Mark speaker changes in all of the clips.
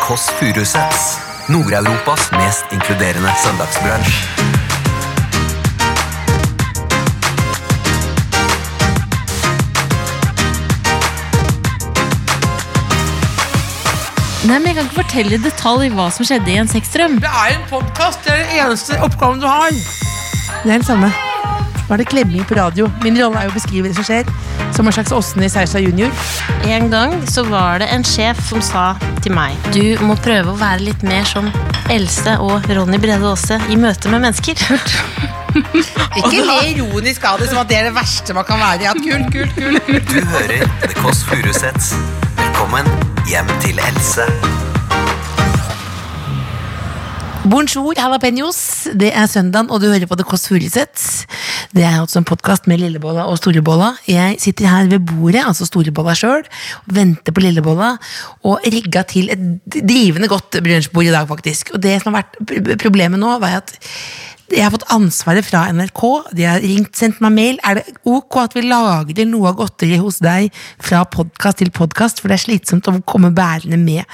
Speaker 1: Kåss Furuseths. Nord-Europas mest inkluderende søndagsbransj.
Speaker 2: Nei, men Jeg kan ikke fortelle i detalj hva som skjedde i en sexdrøm.
Speaker 3: Det er en podkast. Det er den eneste oppgaven du har.
Speaker 4: Det er det samme. Nå er det klemming på radio. Min rolle er jo å beskrive det som skjer. Som en slags Åsne i Seierstad junior.
Speaker 5: En gang så var det en sjef som sa til meg Du må prøve å være litt mer som Else og Ronny Brede Aase i møte med mennesker.
Speaker 3: Ikke le ironisk av det som at det er det verste man kan være. Ja, kult, kult, kult.
Speaker 1: Du hører The Kåss Furuseths. Velkommen hjem til Else.
Speaker 4: Bonjour, jalapeños. Det er søndagen, og du hører på The Kåss Furuseths. Det er altså en podkast med Lillebolla og Storebolla. Jeg sitter her ved bordet, altså Storebolla sjøl, venter på Lillebolla, og rigga til et drivende godt brunsjbord i dag, faktisk. Og det som har vært pr- problemet nå, var at jeg har fått ansvaret fra NRK. De har ringt, sendt meg mail. Er det ok at vi lagrer noe av godteriet hos deg fra podkast til podkast? For det er slitsomt å komme bærende med,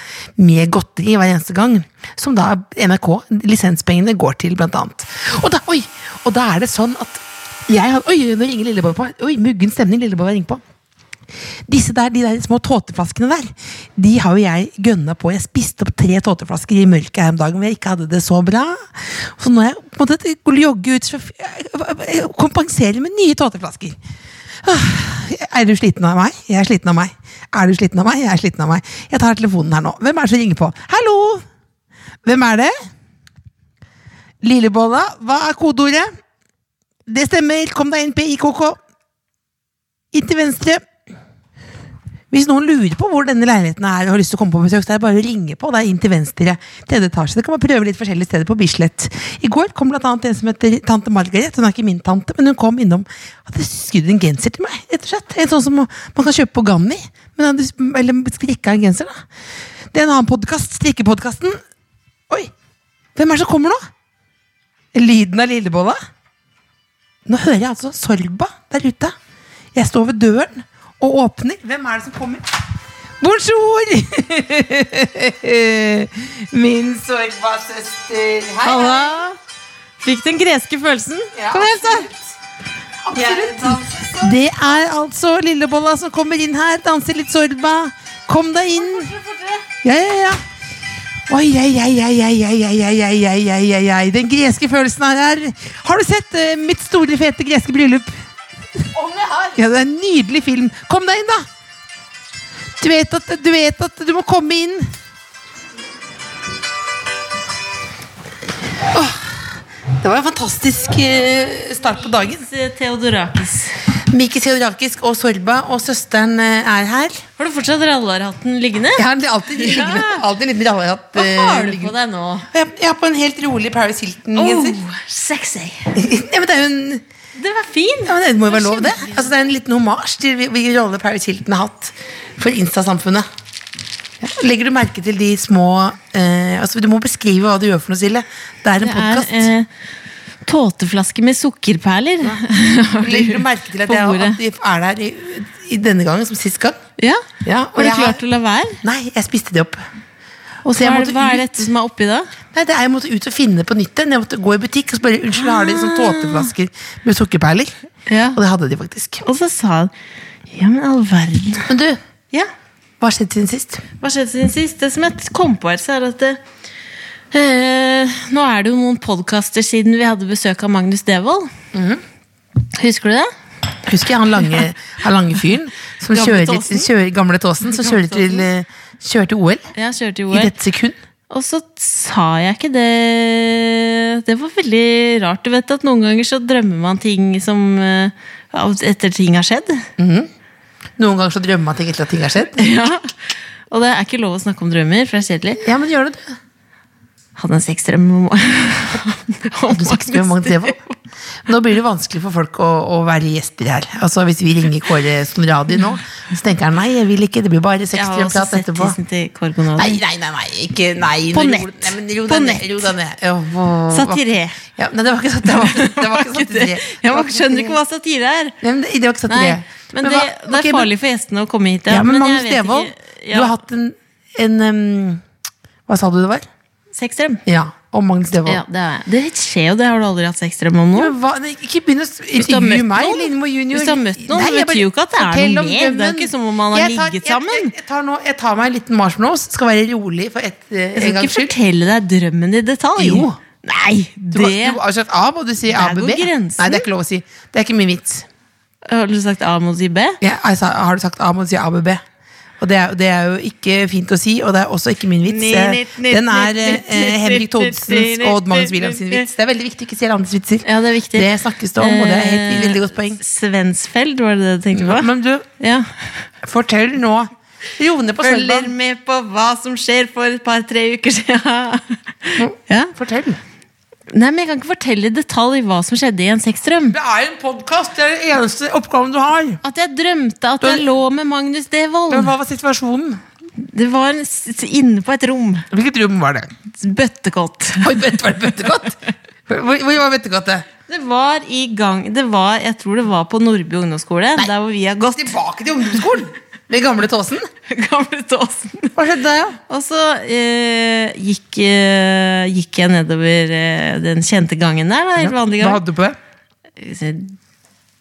Speaker 4: med godteri hver eneste gang. Som da NRK, lisenspengene, går til, blant annet. Og da, oi, og da er det sånn at jeg har, Oi, nå ringer Lillebolla på. Oi, muggen stemning Lillebolla ringer på. Disse der, De der små tåteflaskene der, de har jo jeg gønna på. Jeg spiste opp tre tåteflasker i mørket her om dagen, hvor jeg ikke hadde det så bra. Så nå er jeg på en måte til å jogge ut så jeg kompenserer med nye tåteflasker. Åh, Er du sliten av meg? Jeg er sliten av meg. Er du sliten av meg? Jeg er sliten av meg. Jeg tar telefonen her nå. Hvem er det som ringer på? Hallo! Hvem er det? Lillebolla, hva er kodeordet? Det stemmer. Kom deg inn på IKK. Inn til venstre. Hvis noen lurer på hvor denne leiligheten er, og har lyst til å komme på besøk, så er det bare å ringe på. Det er inn til venstre. Tredje etasje. Det kan man prøve litt forskjellige steder på Bislett. I går kom blant annet en som heter tante Margaret. Hun er ikke min tante, men hun kom innom. Hadde sydd en genser til meg, rett og slett. En sånn som man kan kjøpe på Ganni. Men hadde, eller strikka en genser, da. Det er en annen podkast. Strikkepodkasten. Oi! Hvem er det som kommer nå? Lyden av lillebolla? Nå hører jeg altså Sorba der ute. Jeg står ved døren og åpner. Hvem er det som kommer? Bonjour! Min Sorba-søster. Hei, hei.
Speaker 5: Halla! Fikk den greske følelsen.
Speaker 4: Ja, Absolutt. Det er altså Lillebolla som kommer inn her. Danser litt Sorba. Kom deg inn. Ja, ja, ja. Oi, ei, ei, ei, ei, ei, ei, ei, ei, ei, ei, ei, ei. Den greske følelsen er her. Har du sett eh, mitt store, fete greske bryllup? Ja, det er en nydelig film. Kom deg inn, da! Du vet at du, vet at du må komme inn. Åh, det var en fantastisk eh, start på dagen.
Speaker 2: Theodorakis.
Speaker 4: Miki Theodorakis og Sorba og søsteren eh, er her.
Speaker 2: Har du fortsatt rallarhatten liggende?
Speaker 4: Jeg har alltid, liggende, alltid en liten eh, rallarhatt.
Speaker 2: Hva har du på
Speaker 4: liggende.
Speaker 2: deg nå?
Speaker 4: Jeg, jeg har på en helt rolig Paris Hilton-genser.
Speaker 2: Oh, sexy.
Speaker 4: ja, men det er jo en
Speaker 2: Det var fin.
Speaker 4: ja, men Det må jo være lov, det. Altså, det er en liten hommage til hvil- hvilken rolle Paris Hilton har hatt for Insta-samfunnet. Ja. Legger du merke til de små eh, altså, Du må beskrive hva du gjør for noe, Silje. Det er en
Speaker 2: Det er
Speaker 4: podkast.
Speaker 2: eh, tåteflaske med sukkerperler.
Speaker 4: Legger du merke til at,
Speaker 2: på
Speaker 4: jeg,
Speaker 2: bordet.
Speaker 4: at de er der i, i denne gangen som sist gang?
Speaker 2: Ja.
Speaker 4: Ja, og
Speaker 2: Har du
Speaker 4: jeg har-
Speaker 2: klart å la være?
Speaker 4: Nei, jeg spiste det opp.
Speaker 2: Og
Speaker 4: Så
Speaker 2: så
Speaker 4: jeg
Speaker 2: er
Speaker 4: måtte
Speaker 2: det, hva
Speaker 4: ut-
Speaker 2: er dette som er oppi da?
Speaker 4: Nei, det er Jeg måtte ut og finne på nytt igjen. Jeg måtte gå i butikk og spørre Unnskyld, har de sånn tåteflasker med sukkerperler.
Speaker 2: Ja.
Speaker 4: Og det hadde de faktisk.
Speaker 2: Og så sa han Ja, men all verden.
Speaker 4: Men du,
Speaker 2: Ja,
Speaker 4: hva skjedde siden sist?
Speaker 2: Hva skjedde siden sist? Det som jeg kom på, Else, er at det, eh, Nå er det jo noen podkaster siden vi hadde besøk av Magnus Devold.
Speaker 4: Mhm.
Speaker 2: Husker du det?
Speaker 4: Husker jeg han lange, han lange fyren som
Speaker 2: Gamle
Speaker 4: kjører,
Speaker 2: Tåsen.
Speaker 4: kjører Gamle Tåsen, som kjører til, eh, kjører til OL
Speaker 2: Jeg kjørte jo
Speaker 4: i
Speaker 2: OL.
Speaker 4: dette sekund.
Speaker 2: Og så sa jeg ikke det Det var veldig rart. Du vet at noen ganger så drømmer man ting som eh, av- Etter ting har skjedd.
Speaker 4: Noen ganger så drømmer man ting etter at ting har skjedd.
Speaker 2: Ja. Og det er ikke lov å snakke om drømmer, for det er kjedelig.
Speaker 4: Ja, men gjør det, du.
Speaker 2: Hadde en sexdrøm om, om
Speaker 4: Du skal ikke skrive om Magnus Devold. Nå blir det vanskelig for folk å, å være gjester her. Altså Hvis vi ringer Kåre Snoradi nå, så tenker han nei, jeg vil ikke, det blir bare
Speaker 2: Jeg har også
Speaker 4: sexdrømprat
Speaker 2: sett
Speaker 4: etterpå.
Speaker 2: tissen til Korgonado.
Speaker 4: Nei, nei, nei, nei, ikke nei.
Speaker 2: På
Speaker 4: Ro-
Speaker 2: nett.
Speaker 4: Nei, men ro
Speaker 2: På
Speaker 4: deg ned,
Speaker 2: nett.
Speaker 4: Ro deg ned. Ja, hva-
Speaker 2: Satire.
Speaker 4: Ja, nei, det var ikke, sat- det var, ikke- det var ikke satire.
Speaker 2: Jeg bare skjønner ikke hva satire er.
Speaker 4: Nei, men det, det var ikke
Speaker 2: Nei,
Speaker 4: satire.
Speaker 2: men det,
Speaker 4: hva-
Speaker 2: det
Speaker 4: ok,
Speaker 2: er farlig for gjestene å komme hit.
Speaker 4: Men, ja, men
Speaker 2: jeg
Speaker 4: Magnus
Speaker 2: vet ikke-
Speaker 4: Devold,
Speaker 2: ja.
Speaker 4: du har hatt en, en um,
Speaker 3: Hva sa du det var?
Speaker 2: Sexdrøm.
Speaker 3: Ja, og Magnus Devold.
Speaker 2: Ja, det, er, det skjer jo, det har du aldri hatt sexdrøm om nå.
Speaker 3: Men hva, nei, ikke begynn å s-
Speaker 2: du har
Speaker 3: intervjue
Speaker 2: møtt
Speaker 3: meg,
Speaker 2: noen-
Speaker 3: Lindmo junior.
Speaker 2: hvis du har møtt noen,
Speaker 3: Nei, jeg
Speaker 2: betyr
Speaker 3: bare-
Speaker 2: jo ikke at det er
Speaker 3: fortell
Speaker 2: noe mer.
Speaker 3: om
Speaker 2: Det er jo
Speaker 3: drømmen.
Speaker 2: ikke som om man har
Speaker 3: Jeg tar-
Speaker 2: ligget
Speaker 3: jeg-
Speaker 2: sammen.
Speaker 3: Jeg, jeg, tar nå, jeg tar meg en liten marshmallows, skal være rolig for et, eh,
Speaker 2: Jeg
Speaker 3: en
Speaker 2: skal
Speaker 3: gangs
Speaker 2: ikke
Speaker 3: skyld.
Speaker 2: fortelle deg drømmen i detalj.
Speaker 3: Jo.
Speaker 2: Nei,
Speaker 3: Du,
Speaker 2: det
Speaker 3: må- du har sagt A, må du si A
Speaker 2: Der
Speaker 3: B
Speaker 2: går
Speaker 3: B?
Speaker 2: grensen.
Speaker 3: Nei, det er ikke lov å si. Det er ikke min vits.
Speaker 2: Har du sagt A mot si B?
Speaker 3: Jeg, jeg sa- har du sagt A, må du si A B B. Og det er, det er jo ikke fint å si, og det er også ikke min vits.
Speaker 2: Ni,
Speaker 3: Jeg-
Speaker 2: ni, ni,
Speaker 3: Den er
Speaker 2: ni,
Speaker 3: eh,
Speaker 2: ni, ni, ni,
Speaker 3: Henrik Thodsens
Speaker 2: ni,
Speaker 3: og Odd Magnus
Speaker 2: ni,
Speaker 3: Williams sin
Speaker 2: ni,
Speaker 3: vits. Det er veldig viktig å ikke si alle andres vitser.
Speaker 2: Ja, det er viktig.
Speaker 3: Det snakkes det om, og det er et veldig godt poeng.
Speaker 2: Eh, Svensfeld, var det det du tenkte på?
Speaker 3: Men du,
Speaker 2: Ja.
Speaker 3: fortell nå. Rone på
Speaker 2: Følger
Speaker 3: Sølvbanen.
Speaker 2: med på hva som skjer for et par-tre uker siden.
Speaker 3: Mm.
Speaker 2: ja.
Speaker 3: Fortell.
Speaker 2: Nei, men Jeg kan ikke fortelle i detalj hva som skjedde i en sexdrøm.
Speaker 3: Det er en podkast. Det er den eneste oppgaven du har.
Speaker 2: At jeg drømte at jeg lå med Magnus Devold.
Speaker 3: Men hva var situasjonen?
Speaker 2: Det var en s- inne på et rom.
Speaker 3: Hvilket rom var det?
Speaker 2: Bøttekott.
Speaker 3: Oi, bøtte, var det bøttekott? Hvor, hvor var bøttekottet?
Speaker 2: Det var i gang Det var, Jeg tror det var på Nordby ungdomsskole, der hvor vi har gått.
Speaker 3: Tilbake til ungdomsskolen! Med gamle Tåsen?
Speaker 2: Gamle Tåsen.
Speaker 3: Hva skjedde da, ja?
Speaker 2: Og så eh, gikk, eh, gikk jeg nedover eh, den kjente gangen der. Da, helt vanlig
Speaker 3: Hva
Speaker 2: gang.
Speaker 3: hadde du på deg?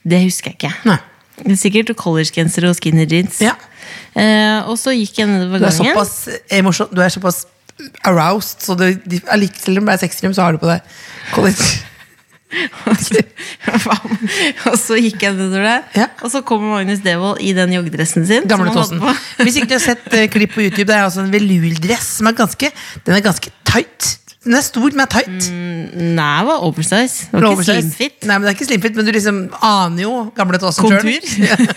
Speaker 2: Det husker jeg ikke.
Speaker 3: Nei.
Speaker 2: Det er Sikkert collegegenser og skinny jeans.
Speaker 3: Ja.
Speaker 2: Eh, og så gikk jeg nedover
Speaker 3: Du er
Speaker 2: gangen.
Speaker 3: såpass emosjon... Du er såpass aroused, så du, de, like, selv om det er sexdrøm, så har du på deg college.
Speaker 2: og så gikk jeg nedover der.
Speaker 3: Ja.
Speaker 2: Og så kommer Magnus Devold i den joggedressen sin. som
Speaker 3: Gamle
Speaker 2: han hadde
Speaker 3: Tåsen.
Speaker 2: på.
Speaker 3: Hvis ikke du har sett eh, klipp på YouTube, det er altså en velurdress som er ganske Den er ganske tight. Den er stor, men er tight.
Speaker 2: Nei, det var oversize. Det var Mm, ikke
Speaker 3: Oversize.
Speaker 2: slimfit.
Speaker 3: Nei, men det er ikke slimfit, men du liksom aner jo gamle Tåsen
Speaker 2: Kontur.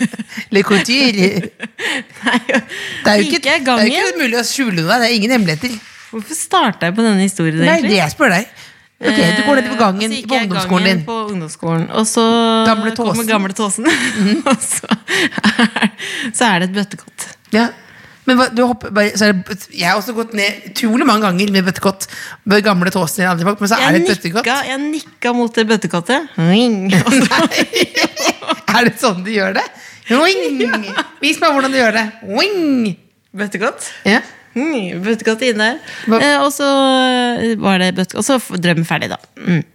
Speaker 3: Le couture. Det er jo ikke,
Speaker 2: Gikk jeg i
Speaker 3: det er jo
Speaker 2: gangen?
Speaker 3: ikke mulig å skjule noe der. Det er ingen hemmeligheter.
Speaker 2: Hvorfor starta jeg på denne historien?
Speaker 3: Nei,
Speaker 2: egentlig?
Speaker 3: det jeg spør deg. Ok, Du går ned på gangen
Speaker 2: Eh, og så gikk
Speaker 3: på
Speaker 2: jeg i
Speaker 3: ungdomsskolen
Speaker 2: gangen
Speaker 3: din.
Speaker 2: På ungdomsskolen, og så
Speaker 3: Gamle Tåsen.
Speaker 2: kommer gamle Tåsen. og så er, så er det et bøttekott.
Speaker 3: Ja. Men hva, du hopper, bare, så er det, jeg har også gått ned utrolig mange ganger med bøttekott. Med gamle Tåsen i andre pakk, men så er
Speaker 2: Jeg
Speaker 3: det et bøttekott.
Speaker 2: nikka, jeg nikka mot det bøttekottet. Ring. Og så,
Speaker 3: Er det sånn de gjør det? Wing! Vis meg hvordan du gjør det. Wing!
Speaker 2: bøttekott.
Speaker 3: Ja.
Speaker 2: Mm, bøttekottet inne
Speaker 3: Hva-
Speaker 2: der. Eh, og så eh, var det bøttekott. Og så f- drømmen ferdig, da. Mm.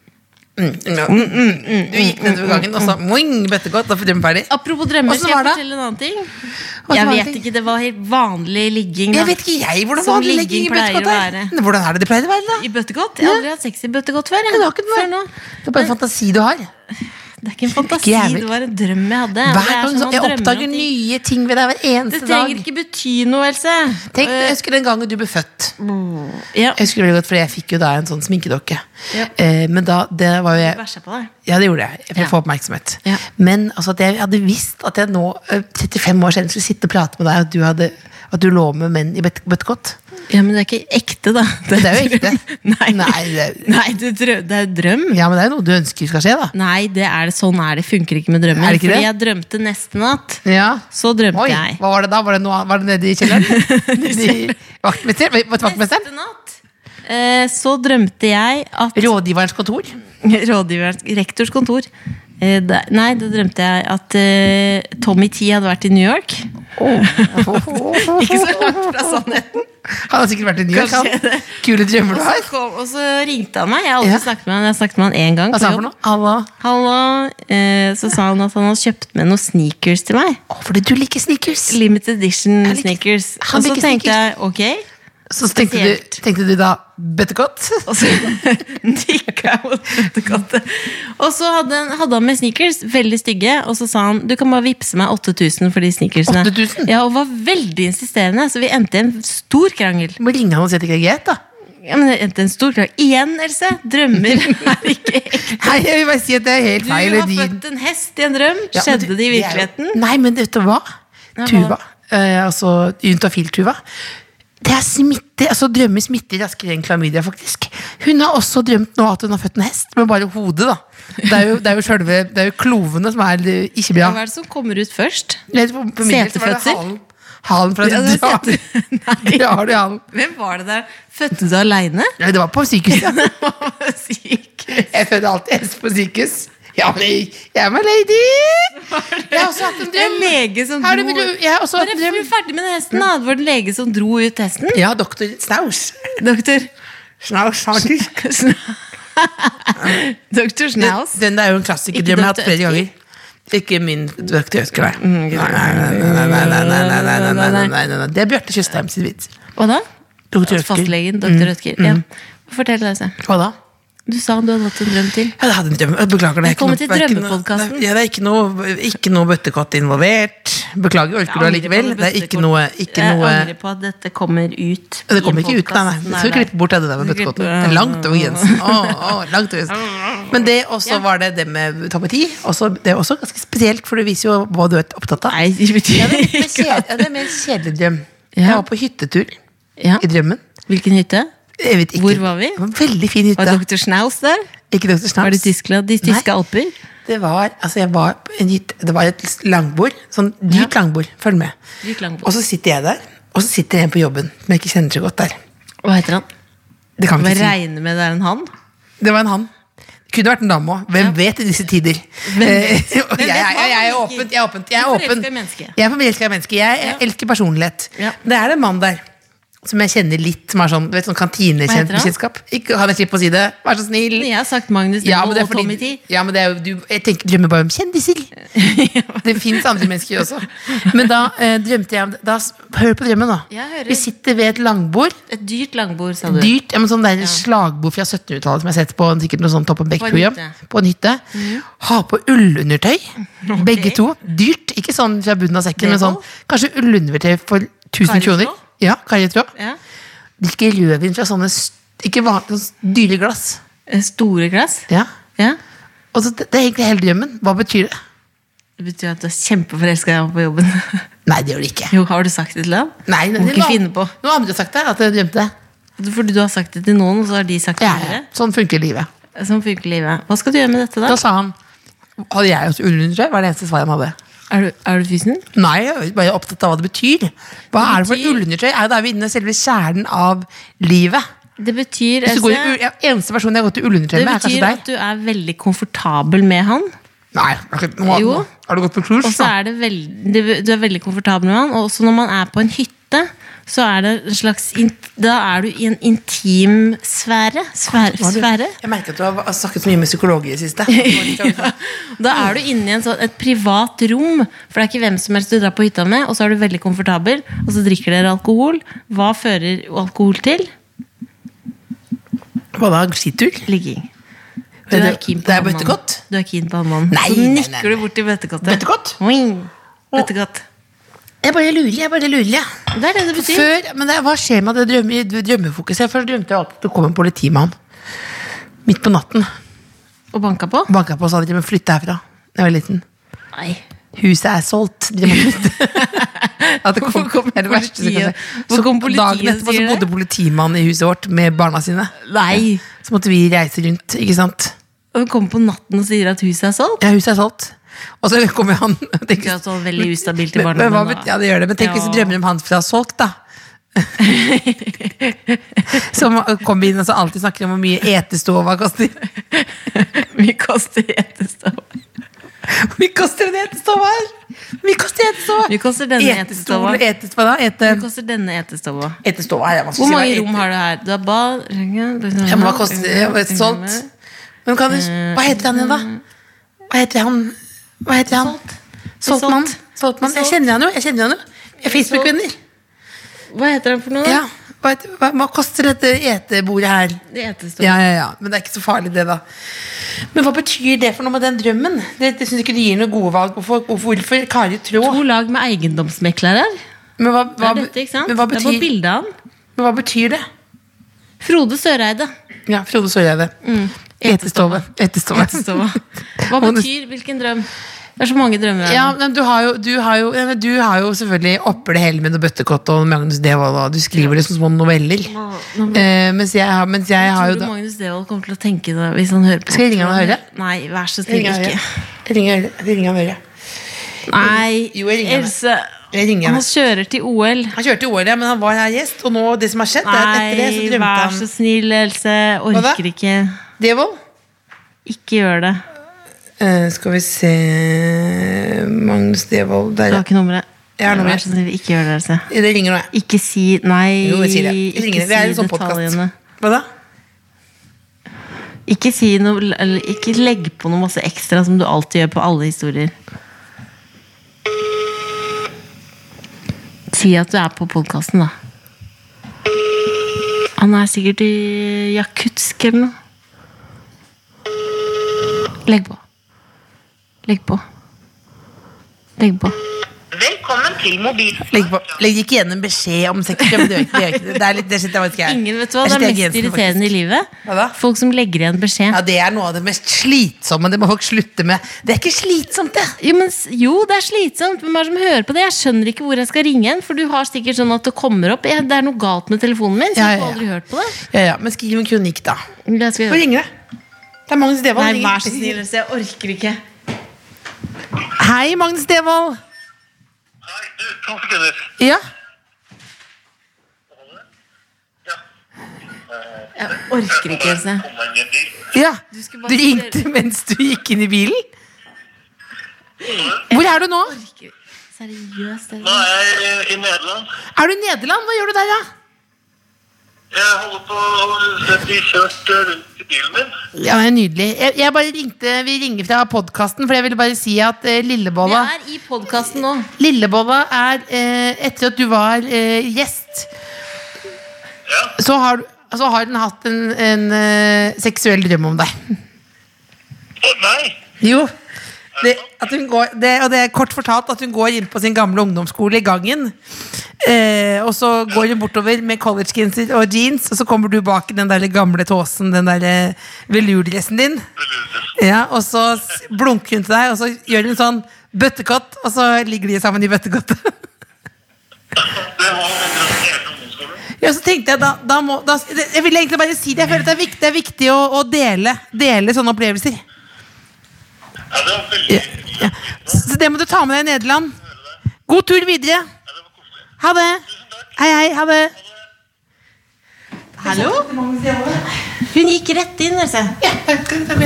Speaker 3: Du gikk nedover gangen og sa wing, bøttekott, da får drømmen ferdig.
Speaker 2: Apropos drømmer,
Speaker 3: Åssen
Speaker 2: skal jeg
Speaker 3: var det?
Speaker 2: fortelle en annen ting?
Speaker 3: Åssen
Speaker 2: Jeg
Speaker 3: var det?
Speaker 2: vet ikke, Det var helt vanlig ligging. da.
Speaker 3: Jeg vet ikke jeg hvordan
Speaker 2: Sånn
Speaker 3: vanlig
Speaker 2: ligging
Speaker 3: legging i
Speaker 2: pleier å
Speaker 3: bøttekott er.
Speaker 2: være.
Speaker 3: Men Hvordan er det det pleier å være,
Speaker 2: I
Speaker 3: da?
Speaker 2: bøttekott? Jeg har aldri hatt sex i bøttekott før. jeg.
Speaker 3: Nei, det har ikke det.
Speaker 2: Før nå.
Speaker 3: Det er bare en fantasi du har.
Speaker 2: Det er ikke en fantasi,
Speaker 3: Ikke jævel.
Speaker 2: det var en drøm jeg hadde. Det er
Speaker 3: Hver gang
Speaker 2: sånn
Speaker 3: så,
Speaker 2: man
Speaker 3: Jeg
Speaker 2: drømmer om
Speaker 3: oppdager
Speaker 2: ting.
Speaker 3: nye ting ved deg hver
Speaker 2: Det
Speaker 3: eneste dag.
Speaker 2: trenger ikke bety noe, Else.
Speaker 3: Tenk,
Speaker 2: Eh,
Speaker 3: jeg husker den gangen du ble født.
Speaker 2: ja.
Speaker 3: Jeg husker det veldig godt, for jeg fikk jo da en sånn sminkedokke.
Speaker 2: Ja.
Speaker 3: Eh, men da, det var jo jeg
Speaker 2: Bæsja på deg.
Speaker 3: Ja, det gjorde jeg. Jeg
Speaker 2: Ja.
Speaker 3: fikk få oppmerksomhet.
Speaker 2: Ja.
Speaker 3: Men altså, at jeg hadde visst at jeg nå, eh, 35 år siden, skulle sitte og prate med deg, at du, hadde, at du lå med menn i bøtte- bøttekott.
Speaker 2: Ja, men det er ikke ekte, da.
Speaker 3: Men det er jo
Speaker 2: drøm.
Speaker 3: ekte.
Speaker 2: Nei,
Speaker 3: Nei, det er-
Speaker 2: Nei, det, drø det er drøm.
Speaker 3: Ja, men det er jo noe du ønsker skal skje, da.
Speaker 2: Nei, det er det. sånn er det. Funker ikke med drømmer.
Speaker 3: Er det ikke
Speaker 2: Fordi jeg
Speaker 3: det?
Speaker 2: drømte neste natt.
Speaker 3: Ja.
Speaker 2: Så drømte
Speaker 3: Oi,
Speaker 2: jeg.
Speaker 3: hva var det da? Var det, noe, annet- var det nede i kjelleren? Nede i vaktmester? Var det Vaktmesteren?
Speaker 2: Neste natt eh, så drømte jeg at
Speaker 3: Rådgiverens kontor?
Speaker 2: Rådgiverens Rektors kontor. Eh, det- Nei, da drømte jeg at eh, Tommy T hadde vært i New York.
Speaker 3: Oh.
Speaker 2: Ikke så langt fra sannheten.
Speaker 3: Han har sikkert vært i New York,
Speaker 2: Kanskje
Speaker 3: han.
Speaker 2: det.
Speaker 3: Kule drømmer du
Speaker 2: Og så,
Speaker 3: har.
Speaker 2: kom, og så ringte han meg. Jeg har aldri
Speaker 3: Ja.
Speaker 2: snakket med han, jeg har snakket med han én gang.
Speaker 3: Hva
Speaker 2: på
Speaker 3: sa han
Speaker 2: jobb.
Speaker 3: for noe? Halla.
Speaker 2: Hallo. Eh, så sa han at han hadde kjøpt med noen sneakers til meg.
Speaker 3: Å, fordi du liker sneakers.
Speaker 2: Limited edition
Speaker 3: Jeg liker-
Speaker 2: sneakers.
Speaker 3: Han
Speaker 2: Og så
Speaker 3: liker
Speaker 2: tenkte jeg ok.
Speaker 3: Så tenkte du,
Speaker 2: Spesielt.
Speaker 3: tenkte du da bøttekott?
Speaker 2: Og så nikka jeg mot bøttekottet. Og så hadde, han- hadde han med sneakers, veldig stygge, og så sa han du kan bare vippse meg 8000 for de sneakersene.
Speaker 3: 8000?
Speaker 2: Ja, Og var veldig insisterende, så vi endte i en stor krangel.
Speaker 3: Du må ringe han og si at det ikke er greit, da.
Speaker 2: Ja, men det endte i en stor krangel. Igjen, Else! Drømmer er ikke ekte.
Speaker 3: Nei, jeg vil bare si at det er helt
Speaker 2: Du
Speaker 3: feil.
Speaker 2: har
Speaker 3: De-
Speaker 2: født en hest i en drøm.
Speaker 3: Ja, men
Speaker 2: Skjedde
Speaker 3: du-
Speaker 2: det i
Speaker 3: det er jo-
Speaker 2: virkeligheten?
Speaker 3: Nei, men vet du hva?
Speaker 2: Nei, hva?
Speaker 3: Tuva, eh, altså Juntafil-Tuva Det er smitte, altså Drømmer smitter raskere enn klamydia, faktisk. Hun har også drømt nå at hun har født en hest, men bare hodet, da. Det er jo, det er jo, selve, det er jo klovene som er det- ikke
Speaker 2: Ja, Hva
Speaker 3: bra.
Speaker 2: er det som kommer ut først?
Speaker 3: Vet du, På, på min del så var det
Speaker 2: Setefødsel?
Speaker 3: halen. Halen fra
Speaker 2: Ja, det var sete- Nei.
Speaker 3: Ja, har du halen?
Speaker 2: Hvem var det der? Fødte du aleine?
Speaker 3: Nei, det var på sykehuset.
Speaker 2: Syk.
Speaker 3: Jeg fødte alltid hest på sykehus.
Speaker 4: Ja, men jeg, jeg er my lady! Jeg har også hatt en
Speaker 2: En
Speaker 4: drøm.
Speaker 2: lege som
Speaker 4: Har du,
Speaker 2: dro
Speaker 4: vil du, jeg har også hatt
Speaker 2: Bare
Speaker 4: en drøm.
Speaker 2: bli ferdig med den hesten, da. Det var det en lege som dro ut hesten.
Speaker 4: Ja, doktor Snaus.
Speaker 2: Doktor
Speaker 4: Snaus, faktisk.
Speaker 2: Doktor Snaus.
Speaker 4: Den den er jo en klassiker. Drøm jeg har hatt flere ganger. Ikke min doktor Ødker, nei. Nei, nei, nei, nei, nei, nei, nei, nei, nei, nei, nei, nei, nei, nei. Det er Bjarte Tjøstheim sin vits.
Speaker 2: Hva da?
Speaker 4: Doktor Mm. Ødker.
Speaker 2: Fastlegen. Doktor Rødker. Ja. Fortell deg, se.
Speaker 4: Hva da?
Speaker 2: Du sa du hadde hatt en drøm til.
Speaker 4: Jeg hadde en drøm. Jeg Beklager, det er
Speaker 2: Velkommen
Speaker 4: ikke
Speaker 2: til
Speaker 4: noe, det
Speaker 2: drømmepodkasten.
Speaker 4: er ikke noe- det er- Ja, det er ikke noe, ikke noe bøttekott involvert. Beklager, orker du
Speaker 2: Jeg angrer på
Speaker 4: allikevel? Det er ikke noe, ikke
Speaker 2: Jeg
Speaker 4: noe
Speaker 2: angrer på at dette kommer ut.
Speaker 4: det kommer
Speaker 2: i
Speaker 4: ikke ut, nei. nei.
Speaker 2: podcasten.
Speaker 4: Du skal klippe bort det der med
Speaker 2: Du skal
Speaker 4: bøttekotten.
Speaker 2: klippe-
Speaker 4: Det er langt over grensen. Å, å, langt over grensen. Men det også var det det med tapeti. Også, det er også ganske spesielt, for det viser jo hva du er opptatt av.
Speaker 2: Nei, det
Speaker 4: Ja, det
Speaker 2: betyr
Speaker 4: er litt mer kjedelig, ja, det er mer kjedelig drøm.
Speaker 2: Ja.
Speaker 4: Jeg var på hyttetur
Speaker 2: ja.
Speaker 4: i drømmen.
Speaker 2: Hvilken hytte?
Speaker 4: Jeg vet ikke.
Speaker 2: Hvor var vi?
Speaker 4: Det var en Veldig
Speaker 2: Var
Speaker 4: fin hytte.
Speaker 2: doktor Snaus der?
Speaker 4: Ikke Dr. Snaps.
Speaker 2: Var det Tyskland? De tyske alper?
Speaker 4: Det var, altså jeg var på en hytte, det var et langbord, sånn dyrt langbord, følg med.
Speaker 2: Dyrt langbord.
Speaker 4: Og så sitter jeg der, og så sitter en på jobben som jeg ikke kjenner så godt der.
Speaker 2: Hva heter han?
Speaker 4: Det kan
Speaker 2: Hva
Speaker 4: vi ikke si.
Speaker 2: regner med det er en han?
Speaker 4: Det var en han. Det kunne vært en dame òg. Hvem vet i disse tider? Eh, og
Speaker 2: Hvem vet hva
Speaker 4: jeg, jeg, jeg, jeg er
Speaker 2: han liker?
Speaker 4: åpen. Jeg er åpen. Jeg er
Speaker 2: Du forelsker
Speaker 4: åpen.
Speaker 2: i mennesket.
Speaker 4: Jeg er forelsket i mennesket. Jeg, jeg elsker personlighet.
Speaker 2: Ja.
Speaker 4: Det er en mann der som jeg kjenner litt, som er sånn, du vet, sånn
Speaker 2: Hva heter han?
Speaker 4: kantinekjentskap. Kan jeg slippe å si det? Vær så snill.
Speaker 2: Jeg har sagt Magnus
Speaker 4: Ja,
Speaker 2: Devold
Speaker 4: men det er
Speaker 2: og Tommy T.
Speaker 4: fordi ja, men det er, jo- du, Jeg tenker, drømmer bare om kjendiser. Det fins andre mennesker også. Men da eh, drømte jeg om det. Da, s- hør på drømmen, da.
Speaker 2: Jeg hører.
Speaker 4: Vi sitter ved et langbord.
Speaker 2: Et dyrt langbord, sa du.
Speaker 4: Dyrt. Ja, men sånn der slagbord fra 1700-tallet som jeg har sett på en- sikkert noe sånn Toppen Beck-program.
Speaker 2: På en hytte. Mhm.
Speaker 4: På en hytte. Ha på ullundertøy. Begge to. Dyrt. Ikke sånn fra bunnen av sekken, men
Speaker 2: Devold?
Speaker 4: sånn kanskje ullundertøy for 1000
Speaker 2: Karitråd?
Speaker 4: kroner. Ja, karitråd.
Speaker 2: Ja.
Speaker 4: Drikke rødvin fra sånne s- ikke vanlige, sånne dyre glass.
Speaker 2: Eh, Store glass.
Speaker 4: Ja.
Speaker 2: Ja.
Speaker 4: Og så, det det er egentlig hele drømmen. Hva betyr det?
Speaker 2: Det betyr at du er kjempeforelska i ham på jobben.
Speaker 4: Nei, det gjør det ikke.
Speaker 2: Jo, Har du sagt det til ham?
Speaker 4: Nei,
Speaker 2: Må ikke
Speaker 4: noe,
Speaker 2: finne på.
Speaker 4: noe andre har sagt det, at jeg drømte det.
Speaker 2: Fordi du har sagt det til noen, og så har de sagt det
Speaker 4: Ja,
Speaker 2: til
Speaker 4: ja.
Speaker 2: dere.
Speaker 4: Sånn funker livet.
Speaker 2: Sånn funker livet. Hva skal du gjøre med dette, da?
Speaker 4: Da sa han Hadde jeg også ullundertøy? Var det eneste svaret han hadde.
Speaker 2: Er du, er du fysen?
Speaker 4: Nei, jeg var bare opptatt av hva det betyr. Hva er det for
Speaker 2: betyr-
Speaker 4: ullundertøy? Er jo da vi inne i selve kjernen av livet.
Speaker 2: Det betyr,
Speaker 4: Hvis du går i,
Speaker 2: Else,
Speaker 4: ull- ja, eneste personen jeg har gått i ullundertøy
Speaker 2: det
Speaker 4: med, er kanskje
Speaker 2: betyr
Speaker 4: deg.
Speaker 2: at du er veldig komfortabel med han.
Speaker 4: Nei, akkurat nå,
Speaker 2: Jo.
Speaker 4: nå har du gått på
Speaker 2: Og
Speaker 4: kurs,
Speaker 2: så
Speaker 4: da?
Speaker 2: er det veld, det- du er veldig komfortabel med han. Og også når man er på en hytte, så er det en slags in, Da er du i en intim sfære. Sfære?
Speaker 4: Nå har du-
Speaker 2: sfære.
Speaker 4: Jeg merker at du har har snakket så mye med psykologer i det siste.
Speaker 2: Ja. Da er du inne i en sånn, et privat rom, for det er ikke hvem som helst du drar på hytta med, og så er du veldig komfortabel, og så drikker dere alkohol. Hva fører alkohol til?
Speaker 4: Hva da? Skitur?
Speaker 2: Ligging. Du
Speaker 4: Det-
Speaker 2: er keen på
Speaker 4: det er
Speaker 2: han mannen.
Speaker 4: bøttekott?
Speaker 2: Du er keen på han mannen.
Speaker 4: Nei,
Speaker 2: så
Speaker 4: nei, nei,
Speaker 2: nikker du bort til bøttekottet.
Speaker 4: Bøttekott?
Speaker 2: Oing. Bøttekott.
Speaker 4: Jeg bare lurer, jeg bare lurer. jeg.
Speaker 2: Det er det det betyr.
Speaker 4: Før, men det, hva skjer med det drømme, drømmefokuset? Først drømte jeg alltid at det kom en politimann midt på natten.
Speaker 2: Og banka på?
Speaker 4: Banka på og sa at de må flytte herfra. Da jeg var liten.
Speaker 2: Nei.
Speaker 4: Huset er solgt, dere må flytte. At det
Speaker 2: Hvorfor kom
Speaker 4: det er det verste som kan
Speaker 2: politiet?
Speaker 4: skje.
Speaker 2: Hvor
Speaker 4: Så
Speaker 2: kom politiet
Speaker 4: Dagen etterpå så
Speaker 2: sier det?
Speaker 4: bodde politimannen i huset vårt med barna sine.
Speaker 2: Nei.
Speaker 4: Så måtte vi reise rundt, ikke sant.
Speaker 2: Og hun kommer på natten og sier at huset er solgt?
Speaker 4: Ja, huset er solgt. Og så kommer han tenk,
Speaker 2: Ikke at det var veldig ustabilt i
Speaker 4: men, men, hva,
Speaker 2: barndommen.
Speaker 4: bet-
Speaker 2: da.
Speaker 4: Ja, det gjør det, men tenk hvis du
Speaker 2: Ja.
Speaker 4: drømmer om han fra Solgt, da. Som kommer inn og så alltid snakker om hvor mye etestova koster.
Speaker 2: Mye koster etestova.
Speaker 4: Hvor mye koster en etestova her? Hvor mye koster etestova?
Speaker 2: Mye koster denne etestova?
Speaker 4: Etestol, etestova da? Ete,
Speaker 2: Hva koster denne etestova?
Speaker 4: etestova er det vanskelig
Speaker 2: Hvor
Speaker 4: å si hva
Speaker 2: mange
Speaker 4: ete-
Speaker 2: rom har du her? Du har bad
Speaker 4: Ja, men hva koster ja, men Solgt? Men kan du,
Speaker 2: Eh,
Speaker 4: hva heter han igjen, da? Hva heter han? Hva heter han? Soltmann. Soltmann. Jeg kjenner han jo. Jeg kjenner han jo. Vi er Facebook-venner.
Speaker 2: Hva heter den for noe?
Speaker 4: Ja,
Speaker 2: da?
Speaker 4: hva, hva, hva koster dette etebordet her?
Speaker 2: Det etestova.
Speaker 4: Ja, ja, ja, Men det er ikke så farlig, det, da. Men hva betyr det for noe med den drømmen? Det, det synes ikke du gir noen gode valg. Hvorfor, hvorfor, hvorfor Kari Traa?
Speaker 2: To lag med eiendomsmeklere.
Speaker 4: Men hva,
Speaker 2: Det
Speaker 4: hva,
Speaker 2: er dette, ikke sant?
Speaker 4: men hva
Speaker 2: Det er på
Speaker 4: betyr,
Speaker 2: bildet av han.
Speaker 4: men hva betyr det?
Speaker 2: Frode Søreide.
Speaker 4: Ja, Frode Søreide.
Speaker 2: Mm.
Speaker 4: Etestove. Etestove.
Speaker 2: Etestova. Hva betyr hvilken drøm? Det er så mange drømmer her.
Speaker 4: Ja,
Speaker 2: nå.
Speaker 4: men du har jo, du har jo, ja, men du har jo selvfølgelig opper det hele med noe bøttekott og Magnus Devold, og du skriver det som små noveller. Eh, mens jeg, har- mens jeg har
Speaker 2: Tror
Speaker 4: jo
Speaker 2: du
Speaker 4: da
Speaker 2: Magnus Devold kommer til å tenke det hvis han hører på?
Speaker 4: Skal jeg ringe han og høre?
Speaker 2: Nei, vær så snill, ikke.
Speaker 4: Ringer, ringer han Øre.
Speaker 2: Nei,
Speaker 4: Jo, jeg ringer henne.
Speaker 2: Else.
Speaker 4: Jeg ringer
Speaker 2: Han
Speaker 4: henne.
Speaker 2: kjører til OL.
Speaker 4: Han kjørte i året, men han var her gjest, og nå, det som har skjedd, er at etter det så
Speaker 2: Nei,
Speaker 4: drømte
Speaker 2: vær så
Speaker 4: han
Speaker 2: snill, Else.
Speaker 4: da?
Speaker 2: Orker ikke.
Speaker 4: Devold?
Speaker 2: Ikke gjør det.
Speaker 3: Eh, skal vi se Magnus Devold.
Speaker 2: Du
Speaker 3: Der, ja.
Speaker 2: har ikke nummeret.
Speaker 3: Jeg har nummeret.
Speaker 2: Vær så snill, ikke gjør det. Altså.
Speaker 3: Det ringer nå, jeg.
Speaker 2: Ikke si Nei,
Speaker 3: Jo, jeg sier det. Det
Speaker 2: ikke
Speaker 3: ringer. Det er en
Speaker 2: si
Speaker 3: sånn podcast.
Speaker 2: detaljene.
Speaker 3: Hva da?
Speaker 2: Ikke, si noe, eller, ikke legg på noe masse ekstra som du alltid gjør på alle historier. Si at du er på podkasten, da. Han er sikkert i Jakutsk eller noe. Legg på. Legg på. Legg på.
Speaker 6: Velkommen til mobil.
Speaker 4: Legg, på, legg ikke igjen en beskjed om sex. Ja, men det gjør ikke- det gjør ikke det. Det er litt, det sitter jeg faktisk ikke her.
Speaker 2: Ingen vet hva,
Speaker 4: Jeg
Speaker 2: Det er
Speaker 4: sitter
Speaker 2: mest
Speaker 4: jeg grensen, faktisk.
Speaker 2: irriterende i livet.
Speaker 4: Hva da?
Speaker 2: Folk som legger igjen beskjed.
Speaker 4: Ja, det er noe av det mest slitsomme. Det må folk slutte med. Det er ikke slitsomt, det.
Speaker 2: Jo, men, s- jo, det er slitsomt. Hvem er det som hører på det? Jeg skjønner ikke hvor jeg skal ringe en. For du har sikkert sånn at det kommer opp. Ja, det er noe galt med telefonen min. Så
Speaker 4: Ja,
Speaker 2: jeg
Speaker 4: ja,
Speaker 2: får aldri hørt på det.
Speaker 4: Ja, ja, men skriv en kronikk, da.
Speaker 2: Jeg skal gjøre. det.
Speaker 3: Nå ringer det. Det er Magnus Devold.
Speaker 2: Nei,
Speaker 3: ringer.
Speaker 2: vær så snill, Else, jeg orker ikke.
Speaker 4: Hei, Magnus Devold.
Speaker 6: Hei, du, to sekunder.
Speaker 4: Ja.
Speaker 2: Jeg orker ikke, Else.
Speaker 6: Kom inn i en bil.
Speaker 4: ja.
Speaker 2: skulle
Speaker 4: Du
Speaker 2: bare-
Speaker 4: ringte mens du gikk inn i bilen? Hvor er du nå?
Speaker 2: Seriøst. Else.
Speaker 6: Nå er jeg eh, i- i Nederland.
Speaker 4: Er du i Nederland? Hva gjør du der, da?
Speaker 6: Jeg holder på å bli kjørt rundt i bilen min.
Speaker 4: Ja, det er Nydelig. Jeg, jeg bare ringte, Vi ringer fra podkasten, for jeg ville bare si at eh,
Speaker 2: Vi
Speaker 4: Lillebolla
Speaker 2: er i podkasten nå.
Speaker 4: Lillebolla er eh, Etter at du var eh, gjest,
Speaker 6: Ja.
Speaker 4: så har, du- så har den hatt en, en eh, seksuell drøm om deg.
Speaker 6: Å, nei!
Speaker 4: Jo. Det, at hun går, det, og det er kort fortalt at hun går inn på sin gamle ungdomsskole i gangen. Eh, og så går hun bortover med collegegenser og jeans, og så kommer du bak i den der gamle tåsen, den der eh, velurdressen din. Ja, og så s- blunker hun til deg, og så gjør hun sånn bøttekott, og så ligger de sammen i bøttekottet.
Speaker 6: Det var en drømmegjerne ungdomsskole.
Speaker 4: Ja, så tenkte jeg da, da må, da, Jeg ville egentlig bare si det. Jeg føler at det er viktig, det er viktig å, å dele, dele sånne opplevelser.
Speaker 6: Ja, det var veldig ja.
Speaker 4: Ja. Så det må du ta med deg i Nederland. God tur videre.
Speaker 6: det var koselig.
Speaker 4: Ha det. Hei, hei. Ha det.
Speaker 2: Hallo? Hun gikk rett inn, altså. Else.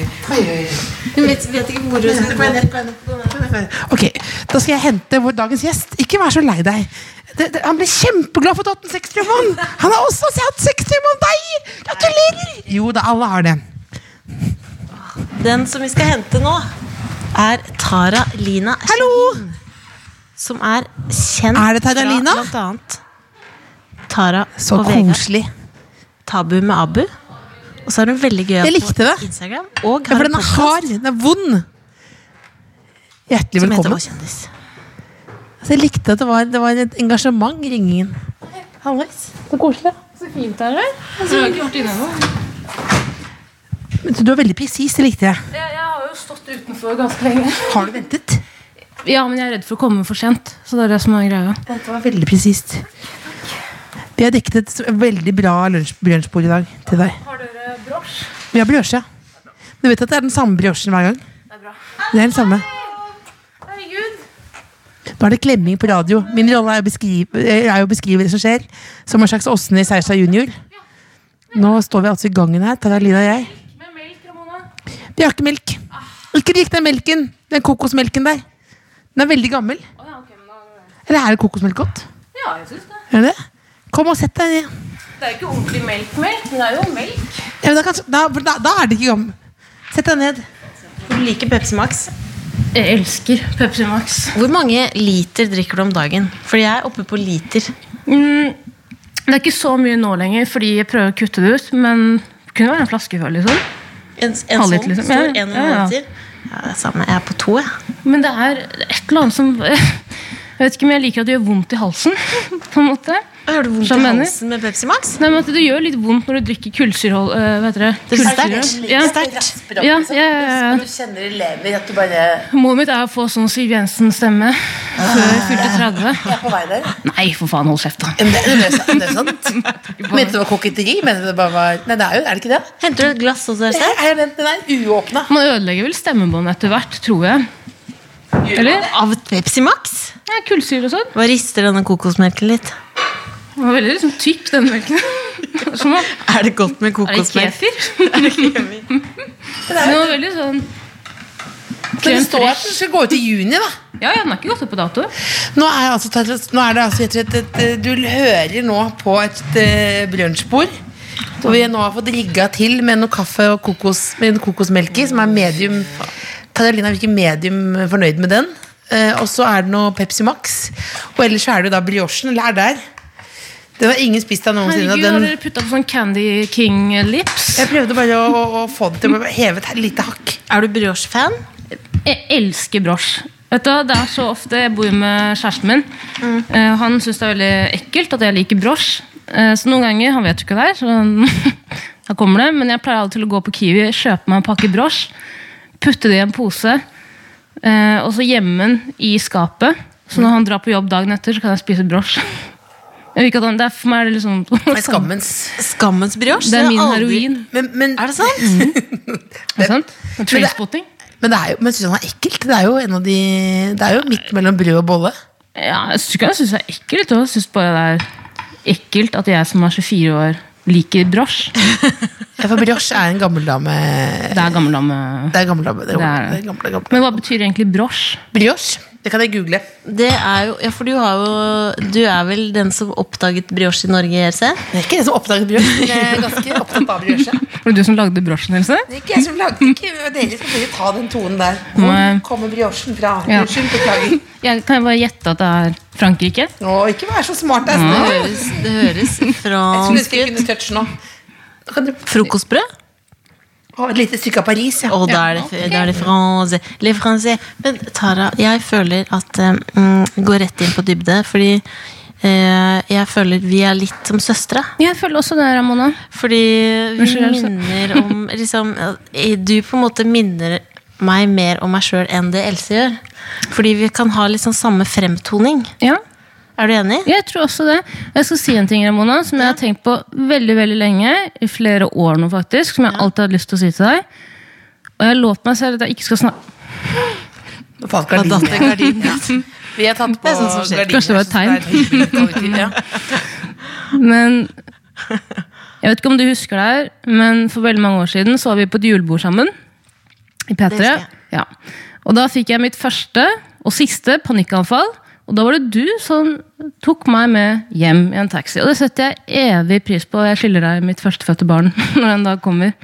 Speaker 2: Hun vet, vet ikke hvor hun skal gå.
Speaker 4: Ok, Da skal jeg hente vår dagens gjest. Ikke vær så lei deg. Det, det, han ble kjempeglad for at du har hatt en sexdrøm. Han har også hatt sexdrøm om deg! Gratulerer! Jo da, alle har det.
Speaker 2: Den som vi skal hente nå, er Tara Lina
Speaker 4: Hallo!
Speaker 2: Som er kjent
Speaker 4: Er det Tara Lina?
Speaker 2: fra blant annet Tara
Speaker 4: Så
Speaker 2: og Vegard.
Speaker 4: koselig.
Speaker 2: Tabu med Abu. Og så er hun veldig gøy
Speaker 4: Jeg likte det.
Speaker 2: på Instagram. Og har
Speaker 4: Ja, for
Speaker 2: en
Speaker 4: den er
Speaker 2: podcast
Speaker 4: hard. Den er vond. Hjertelig
Speaker 2: som heter
Speaker 4: velkommen.
Speaker 2: Vår kjendis.
Speaker 4: Altså, jeg likte at det var, det var et engasjement i ringingen. Hallois. Så koselig. Så fint er det. Men du er veldig presis, det likte jeg.
Speaker 7: Jeg, jeg har jo stått utenfor ganske lenge.
Speaker 4: Har du ventet?
Speaker 7: Ja, men jeg er redd for å komme for sent. Så det er det som er greia.
Speaker 4: Dette var veldig presist. Vi har dekket et s- veldig bra lunsj- lunsjbord i dag til deg. Har dere brosj? Vi har brosje, ja. Du vet at det er den samme brosjen hver gang? Det er den samme. Nå er det klemming på radio. Min rolle er å beskrive, eh, er å beskrive det som skjer, som en slags Åsne i Seierstad junior. Nå står vi altså i gangen her, Tara Lina og jeg. Vi har ikke melk. Ikke drikk den melken. Den kokosmelken der. Den er veldig gammel. Eller er det kokosmelk godt?
Speaker 7: Ja, jeg synes det.
Speaker 4: Er det det? Kom og sett deg.
Speaker 7: Det er ikke ordentlig melk-melk, men det er jo melk.
Speaker 4: Ja, men da, kan, da, for da, da er det ikke gammel. Sett deg ned.
Speaker 2: Du liker Pepsi Max.
Speaker 7: Jeg elsker Pepsi Max.
Speaker 2: Hvor mange liter drikker du om dagen? Fordi jeg er oppe på liter.
Speaker 7: Mm, det er ikke så mye nå lenger, fordi jeg prøver å kutte det ut. Men det kunne være en flaske før, liksom.
Speaker 2: En, en
Speaker 7: Halvliter,
Speaker 2: sånn
Speaker 7: liksom.
Speaker 2: stor,
Speaker 7: Ja,
Speaker 2: en og en
Speaker 7: ja, ja.
Speaker 2: halv liter. Ja, det er samme. Jeg er på to, jeg.
Speaker 7: Men det er et eller annet som Jeg vet ikke om jeg liker at det gjør vondt i halsen. på en måte.
Speaker 2: Har du vondt i
Speaker 7: Skjønner du?
Speaker 2: halsen med Pepsi Max?
Speaker 7: Nei, men at Det gjør litt vondt når du drikker kullsyrhold... eh, hva heter det?
Speaker 2: Det er
Speaker 7: Kullsyre.
Speaker 2: sterkt.
Speaker 7: Ja.
Speaker 2: Sterkt.
Speaker 7: Ja, ja, ja, ja.
Speaker 4: Du kjenner i lever at du bare
Speaker 7: Målet mitt er å få sånn Siv Jensen-stemme før jeg fylte 30.
Speaker 4: er på vei der.
Speaker 7: Nei, for faen, hold kjeft, da.
Speaker 4: Men Det, men det, er sant- det er sant. Mente du det var koketteri? Mente du det bare var Nei, det er jo er det ikke det?
Speaker 2: Henter du et glass også,
Speaker 4: Det
Speaker 2: Else?
Speaker 4: er, den er uåpna.
Speaker 7: Man ødelegger vel stemmebåndet etter hvert, tror jeg. Eller?
Speaker 2: Av Pepsi Max?
Speaker 7: Ja, Kullsyre og sånn.
Speaker 2: Hva rister denne kokosmelken litt?
Speaker 7: Den var veldig liksom, tykk, den melken. Som om
Speaker 2: Er det godt med
Speaker 7: Er det
Speaker 2: kokosmelk?
Speaker 7: kefir? Men det var veldig sånn
Speaker 4: Men det står at den skal gå ut i juni, da.
Speaker 7: Ja, ja, den er ikke gått opp på dato.
Speaker 4: Nå er, altså, nå er det altså rett og slett et, eh, Du hører nå på et eh, brunsjbord. Hvor vi nå har fått rigga til med noe kaffe og kokos, med en kokosmelk i, som er medium. Taralina virker medium fornøyd med den. Eh, og så er det noe Pepsi Max. Og ellers så er det jo da briochen. Eller er der. Den har ingen spist av noensinne. og
Speaker 7: Herregud, har
Speaker 4: Den,
Speaker 7: dere putta på sånn Candy King-lips?
Speaker 4: jeg prøvde bare å, å, å få det til å heve et lite hakk.
Speaker 2: Er du brioche-fan?
Speaker 7: Jeg elsker brosj. Vet du, hva, det er så ofte Jeg bor jo med kjæresten min.
Speaker 2: Mm.
Speaker 7: Eh, han syns det er veldig ekkelt at jeg liker brosj. Eh, så noen ganger Han vet jo ikke hva det er, så han, da kommer det. Men jeg pleier alltid til å gå på Kiwi, kjøpe meg en pakke brosj, putte det i en pose, eh, og så gjemme den i skapet. Så når han drar på jobb dagen etter, så kan jeg spise brosj. Jeg vil ikke at han, det er for meg er det liksom
Speaker 4: Det er skammens.
Speaker 2: Skammens brioche?
Speaker 7: Det er min
Speaker 2: Jeg har aldri-
Speaker 7: heroin.
Speaker 4: Men, men, Mhm.
Speaker 2: Er det sant?
Speaker 7: Er det sant? Trainspotting?
Speaker 4: men, det er jo- men syns du den er ekkelt? Det er jo en av de Det er jo midt mellom brød og bolle.
Speaker 7: Ja, jeg syns ikke jeg synes det er ekkelt. Jeg syns bare det er ekkelt at jeg som er 24 år, liker brosj.
Speaker 4: Ja, for brioche er en gammel dame
Speaker 7: Det er gammeldame.
Speaker 4: Det er gammel dame. Det er,
Speaker 7: Det er det.
Speaker 4: det er gamle, gamle.
Speaker 7: Men hva betyr egentlig brosj?
Speaker 4: Brioche, det kan jeg google.
Speaker 2: Det er jo, ja, for du, har jo, du er vel den som oppdaget brioche i Norge, Else?
Speaker 4: Det er ikke jeg som oppdaget brioche. men Jeg er ganske opptatt av brioche.
Speaker 7: Var det du som lagde brosjen, Else?
Speaker 4: Det er ikke jeg som lagde ikke Dere skal bare ta den tonen der.
Speaker 7: Nei.
Speaker 4: Hvor kommer briochen fra?
Speaker 7: Ja.
Speaker 4: Unnskyld, beklager.
Speaker 7: Jeg kan jeg bare gjette at det er Frankrike?
Speaker 4: Å, ikke vær så smart, da.
Speaker 2: Det høres, det høres
Speaker 4: Jeg skulle ønske
Speaker 2: fransk
Speaker 4: jeg
Speaker 2: ut.
Speaker 4: kunne touche nå. Nå kan dere
Speaker 2: Frokostbrød?
Speaker 4: ha et lite stykke av Paris, ja.
Speaker 2: Å, da er det, da er det franse. Le franse. Men Tara, jeg føler at eh, mm, Går rett inn på dybde, fordi eh, jeg føler vi er litt som søstre.
Speaker 7: Jeg føler også det, Ramona.
Speaker 2: Fordi vi
Speaker 7: Unnskyld, Else.
Speaker 2: minner om liksom, eh, Du på en måte minner meg mer om meg sjøl enn det Else gjør. Fordi vi kan ha litt sånn samme fremtoning.
Speaker 7: Ja,
Speaker 2: Er du enig?
Speaker 7: jeg tror også det. Og Jeg skal si en ting, Ramona, som jeg har tenkt på veldig veldig lenge, i flere år nå faktisk, som jeg alltid hadde lyst til å si til deg. Og jeg har lovt meg selv at jeg ikke skal snakke
Speaker 4: Nå falt gardinen.
Speaker 2: Datter Gardin.
Speaker 4: Vi har tatt på
Speaker 2: er sånn som skjer.
Speaker 4: gardiner,
Speaker 7: Kanskje det var et
Speaker 4: så det er et hyggelig kollektiv, ja.
Speaker 7: Men jeg vet ikke om du husker det her, men for veldig mange år siden så var vi på et julebord sammen. I
Speaker 2: husker
Speaker 7: P3.
Speaker 2: jeg.
Speaker 7: Ja. Og da fikk jeg mitt første og siste panikkanfall. Og da var det du som tok meg med hjem i en taxi. Og det setter jeg evig pris på. og Jeg skylder deg mitt førstefødte barn når den dag kommer.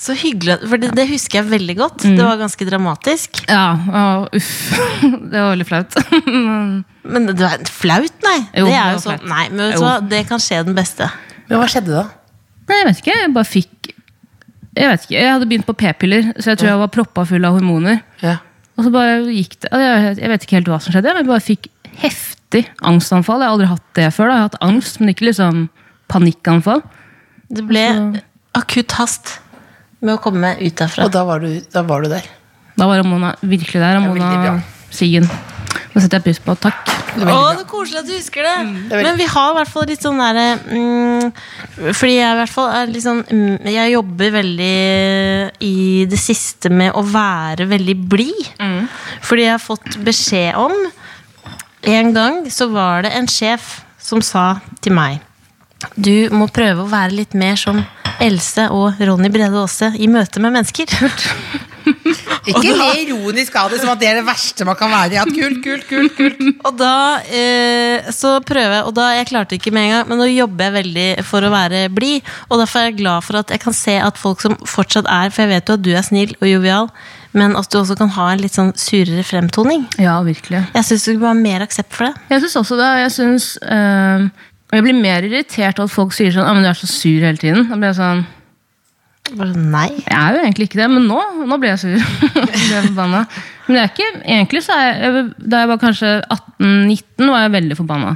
Speaker 2: Så hyggelig, at- for det, det husker jeg veldig godt.
Speaker 4: Mm.
Speaker 2: Det var ganske dramatisk.
Speaker 7: Ja, og uff. Det var veldig flaut. Men
Speaker 2: Men det er flaut, nei.
Speaker 7: Jo,
Speaker 2: det er jo
Speaker 7: det var
Speaker 2: sånn,
Speaker 7: flaut.
Speaker 2: nei, men vet du
Speaker 7: Jo.
Speaker 2: hva, det kan skje den beste.
Speaker 4: Men hva skjedde da?
Speaker 7: Nei, jeg vet ikke. Jeg bare fikk Jeg vet ikke, jeg hadde begynt på p-piller, så jeg tror jeg var proppa full av hormoner.
Speaker 4: Ja.
Speaker 7: Og så bare gikk det altså, Jeg jeg vet ikke helt hva som skjedde, men jeg bare fikk heftig angstanfall. Jeg har aldri hatt det før. Da. Jeg har hatt angst, men ikke liksom panikkanfall.
Speaker 2: Det ble akutt hast med å komme meg ut derfra.
Speaker 4: Og da var, du, da var du der.
Speaker 7: Da var Ramona virkelig der.
Speaker 4: veldig bra.
Speaker 7: Ramona Siggen. Det setter jeg pris på. Takk.
Speaker 4: Det var
Speaker 2: Å,
Speaker 4: veldig bra. Mm.
Speaker 2: det er koselig at du husker det!
Speaker 4: Det er veldig-
Speaker 2: Men vi har i hvert fall litt sånn derre mm, Fordi jeg i hvert fall er litt sånn mm, Jeg jobber veldig i det siste med å være veldig blid.
Speaker 4: Mm.
Speaker 2: Fordi jeg har fått beskjed om En gang så var det en sjef som sa til meg du må prøve å være litt mer som Else og Ronny Brede Aase i møte med mennesker.
Speaker 4: Ikke le ironisk av det som at det er det verste man kan være. Ja, kult, kult, kult, kult.
Speaker 2: Og da eh, så prøver jeg, og da jeg klarte ikke med en gang, men nå jobber jeg veldig for å være blid. Og derfor er jeg glad for at jeg kan se at folk som fortsatt er For jeg vet jo at du er snill og jovial, men at du også kan ha en litt sånn surere fremtoning.
Speaker 7: Ja, virkelig.
Speaker 2: Jeg syns du burde ha mer aksept for det.
Speaker 7: Jeg syns også det. Jeg synes, eh, jeg blir mer irritert av at folk sier sånn ah, men 'Du er så sur hele tiden'. Da blir jeg sånn
Speaker 2: Bare sånn, nei.
Speaker 7: Jeg er jo egentlig ikke det, men nå, nå ble jeg sur. ble jeg forbanna. Men det er ikke, egentlig så er jeg, jeg- da jeg var kanskje 18-19, var jeg veldig forbanna.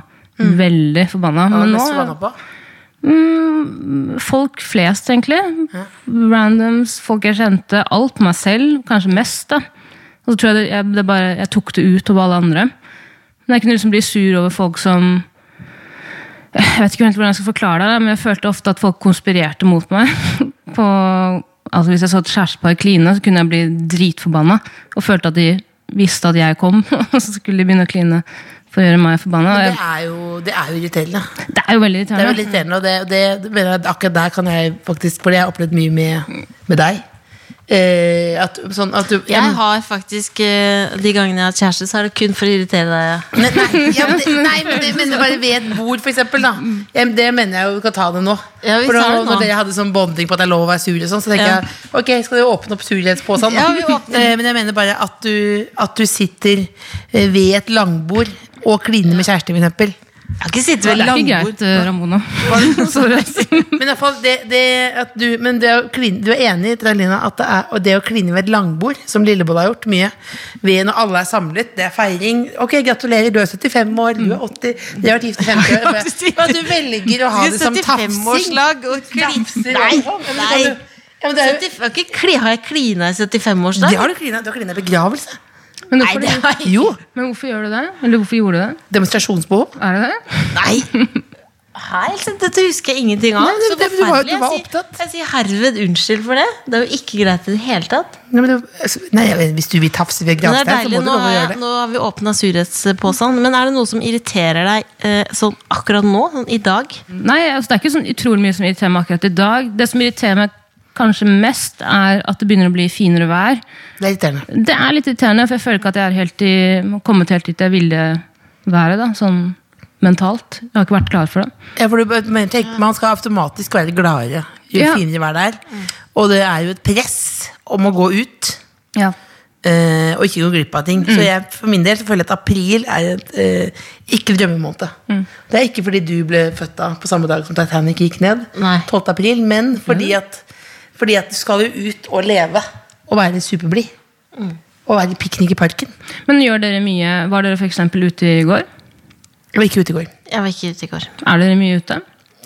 Speaker 7: Veldig forbanna. Men nå mm, Folk flest, egentlig. Randoms, folk jeg kjente. Alt. Meg selv, kanskje mest. da. Og så tror jeg det, jeg, det bare, jeg tok det ut over alle andre. Men jeg kunne liksom bli sur over folk som jeg vet ikke helt hvordan jeg skal forklare det, da, men jeg følte ofte at folk konspirerte mot meg. På, altså Hvis jeg så et kjærestepar kline, så kunne jeg bli dritforbanna. Og følte at de visste at jeg kom, og så skulle de begynne å kline for å gjøre meg forbanna.
Speaker 4: Det
Speaker 7: Jeg-
Speaker 4: er jo, det er jo irriterende.
Speaker 7: Det er jo veldig
Speaker 4: Det er
Speaker 7: irriterende.
Speaker 4: veldig irriterende, og det, det, det mener jeg at akkurat der kan jeg faktisk For det har jeg opplevd mye med, med deg. Eh, at, sånn at du
Speaker 2: Jeg har faktisk eh, De gangene jeg har hatt kjæreste, så er det kun for å irritere deg.
Speaker 4: Nei, nei, ja, men det, nei, men det mener jeg bare ved et bord, for eksempel. Da. Jeg, det mener jeg jo vi kan ta det nå.
Speaker 2: Ja, vi
Speaker 4: for
Speaker 2: tar det nå.
Speaker 4: Når dere hadde sånn bonding på at det er lov å være sur, og sånn, så tenker
Speaker 2: Ja.
Speaker 4: jeg ok, skal dere åpne opp surhetspåsen?
Speaker 2: Ja, vi åpner.
Speaker 4: Eh, men jeg mener bare at du, at du sitter eh, ved et langbord og kliner med kjæresten, for eksempel.
Speaker 2: Jeg har ikke sittet
Speaker 7: Det
Speaker 2: ved
Speaker 7: er ikke
Speaker 2: langbord.
Speaker 7: greit, eh, Ramona. Sorry, ass.
Speaker 4: Men i hvert fall, det, det at du, men det å kline, du er enig i Tralina, at det, er, og det å kline ved et langbord, som Lillebolla har gjort mye, ved når alle er samlet, det er feiring. Ok, gratulerer, du er 75 år, du
Speaker 2: Mm.
Speaker 4: er 80, de har vært gift i 50 år. bare- Men at du velger å ha det som tafsing.
Speaker 2: 75-årslag og klin-
Speaker 4: Tafser,
Speaker 2: Nei!
Speaker 4: ja, men
Speaker 2: nei.
Speaker 4: kan du- Ja, men det er jo-
Speaker 2: 75 har ikke kli- Har jeg klina i 75-årsdag?
Speaker 4: det har du klina du har klinet i begravelse.
Speaker 7: Men hvorfor,
Speaker 2: det har jeg-
Speaker 4: Jo.
Speaker 7: men hvorfor gjør du det? Eller hvorfor gjorde du det?
Speaker 4: Demonstrasjonsbehov.
Speaker 7: Er det det?
Speaker 2: Nei! Helt, dette husker jeg ingenting av.
Speaker 4: Nei, det-
Speaker 2: Så
Speaker 4: det- du var-
Speaker 2: forferdelig.
Speaker 4: du var
Speaker 2: Jeg sier-
Speaker 4: opptatt.
Speaker 2: Jeg sier herved unnskyld for det. Det er jo ikke greit i det hele tatt.
Speaker 4: Nei, men du, altså, nei, jeg vet, hvis du vil tafse ved
Speaker 2: Men det er
Speaker 4: gravstein, så må
Speaker 2: deilig, nå,
Speaker 4: du lov å
Speaker 2: har
Speaker 4: gjøre
Speaker 2: jeg,
Speaker 4: det.
Speaker 2: nå har vi åpna surhetspåsen. Men er det noe som irriterer deg eh, sånn akkurat nå? Sånn i dag?
Speaker 7: Nei, altså, det er ikke sånn utrolig mye som irriterer meg akkurat i dag. Det som irriterer meg kanskje mest, er at det begynner å bli finere vær.
Speaker 4: Det er irriterende.
Speaker 7: Det er litt irriterende, for jeg føler ikke at jeg er helt i, kommet helt dit jeg ville være. da, sånn mentalt. Jeg har ikke vært klar for det.
Speaker 4: Ja, for du, bare- men tenk, man skal automatisk være gladere jo
Speaker 7: Ja.
Speaker 4: finere vær det er. Og det er jo et press om å gå ut.
Speaker 7: Ja.
Speaker 4: eh, og ikke gå glipp av ting. Så jeg, for min del så føler jeg at april er et eh, ikke drømmemåned. Det er ikke fordi du ble født da på samme dag som Titanic gikk ned,
Speaker 2: Nei.
Speaker 4: 12. april, men fordi at, fordi at du skal jo ut og leve og være superblid. Og være i piknik i parken.
Speaker 7: Men gjør dere mye Var dere f.eks. ute i går?
Speaker 4: Jeg var ikke ute i går.
Speaker 2: Jeg var ikke ute i går.
Speaker 7: Er dere mye ute?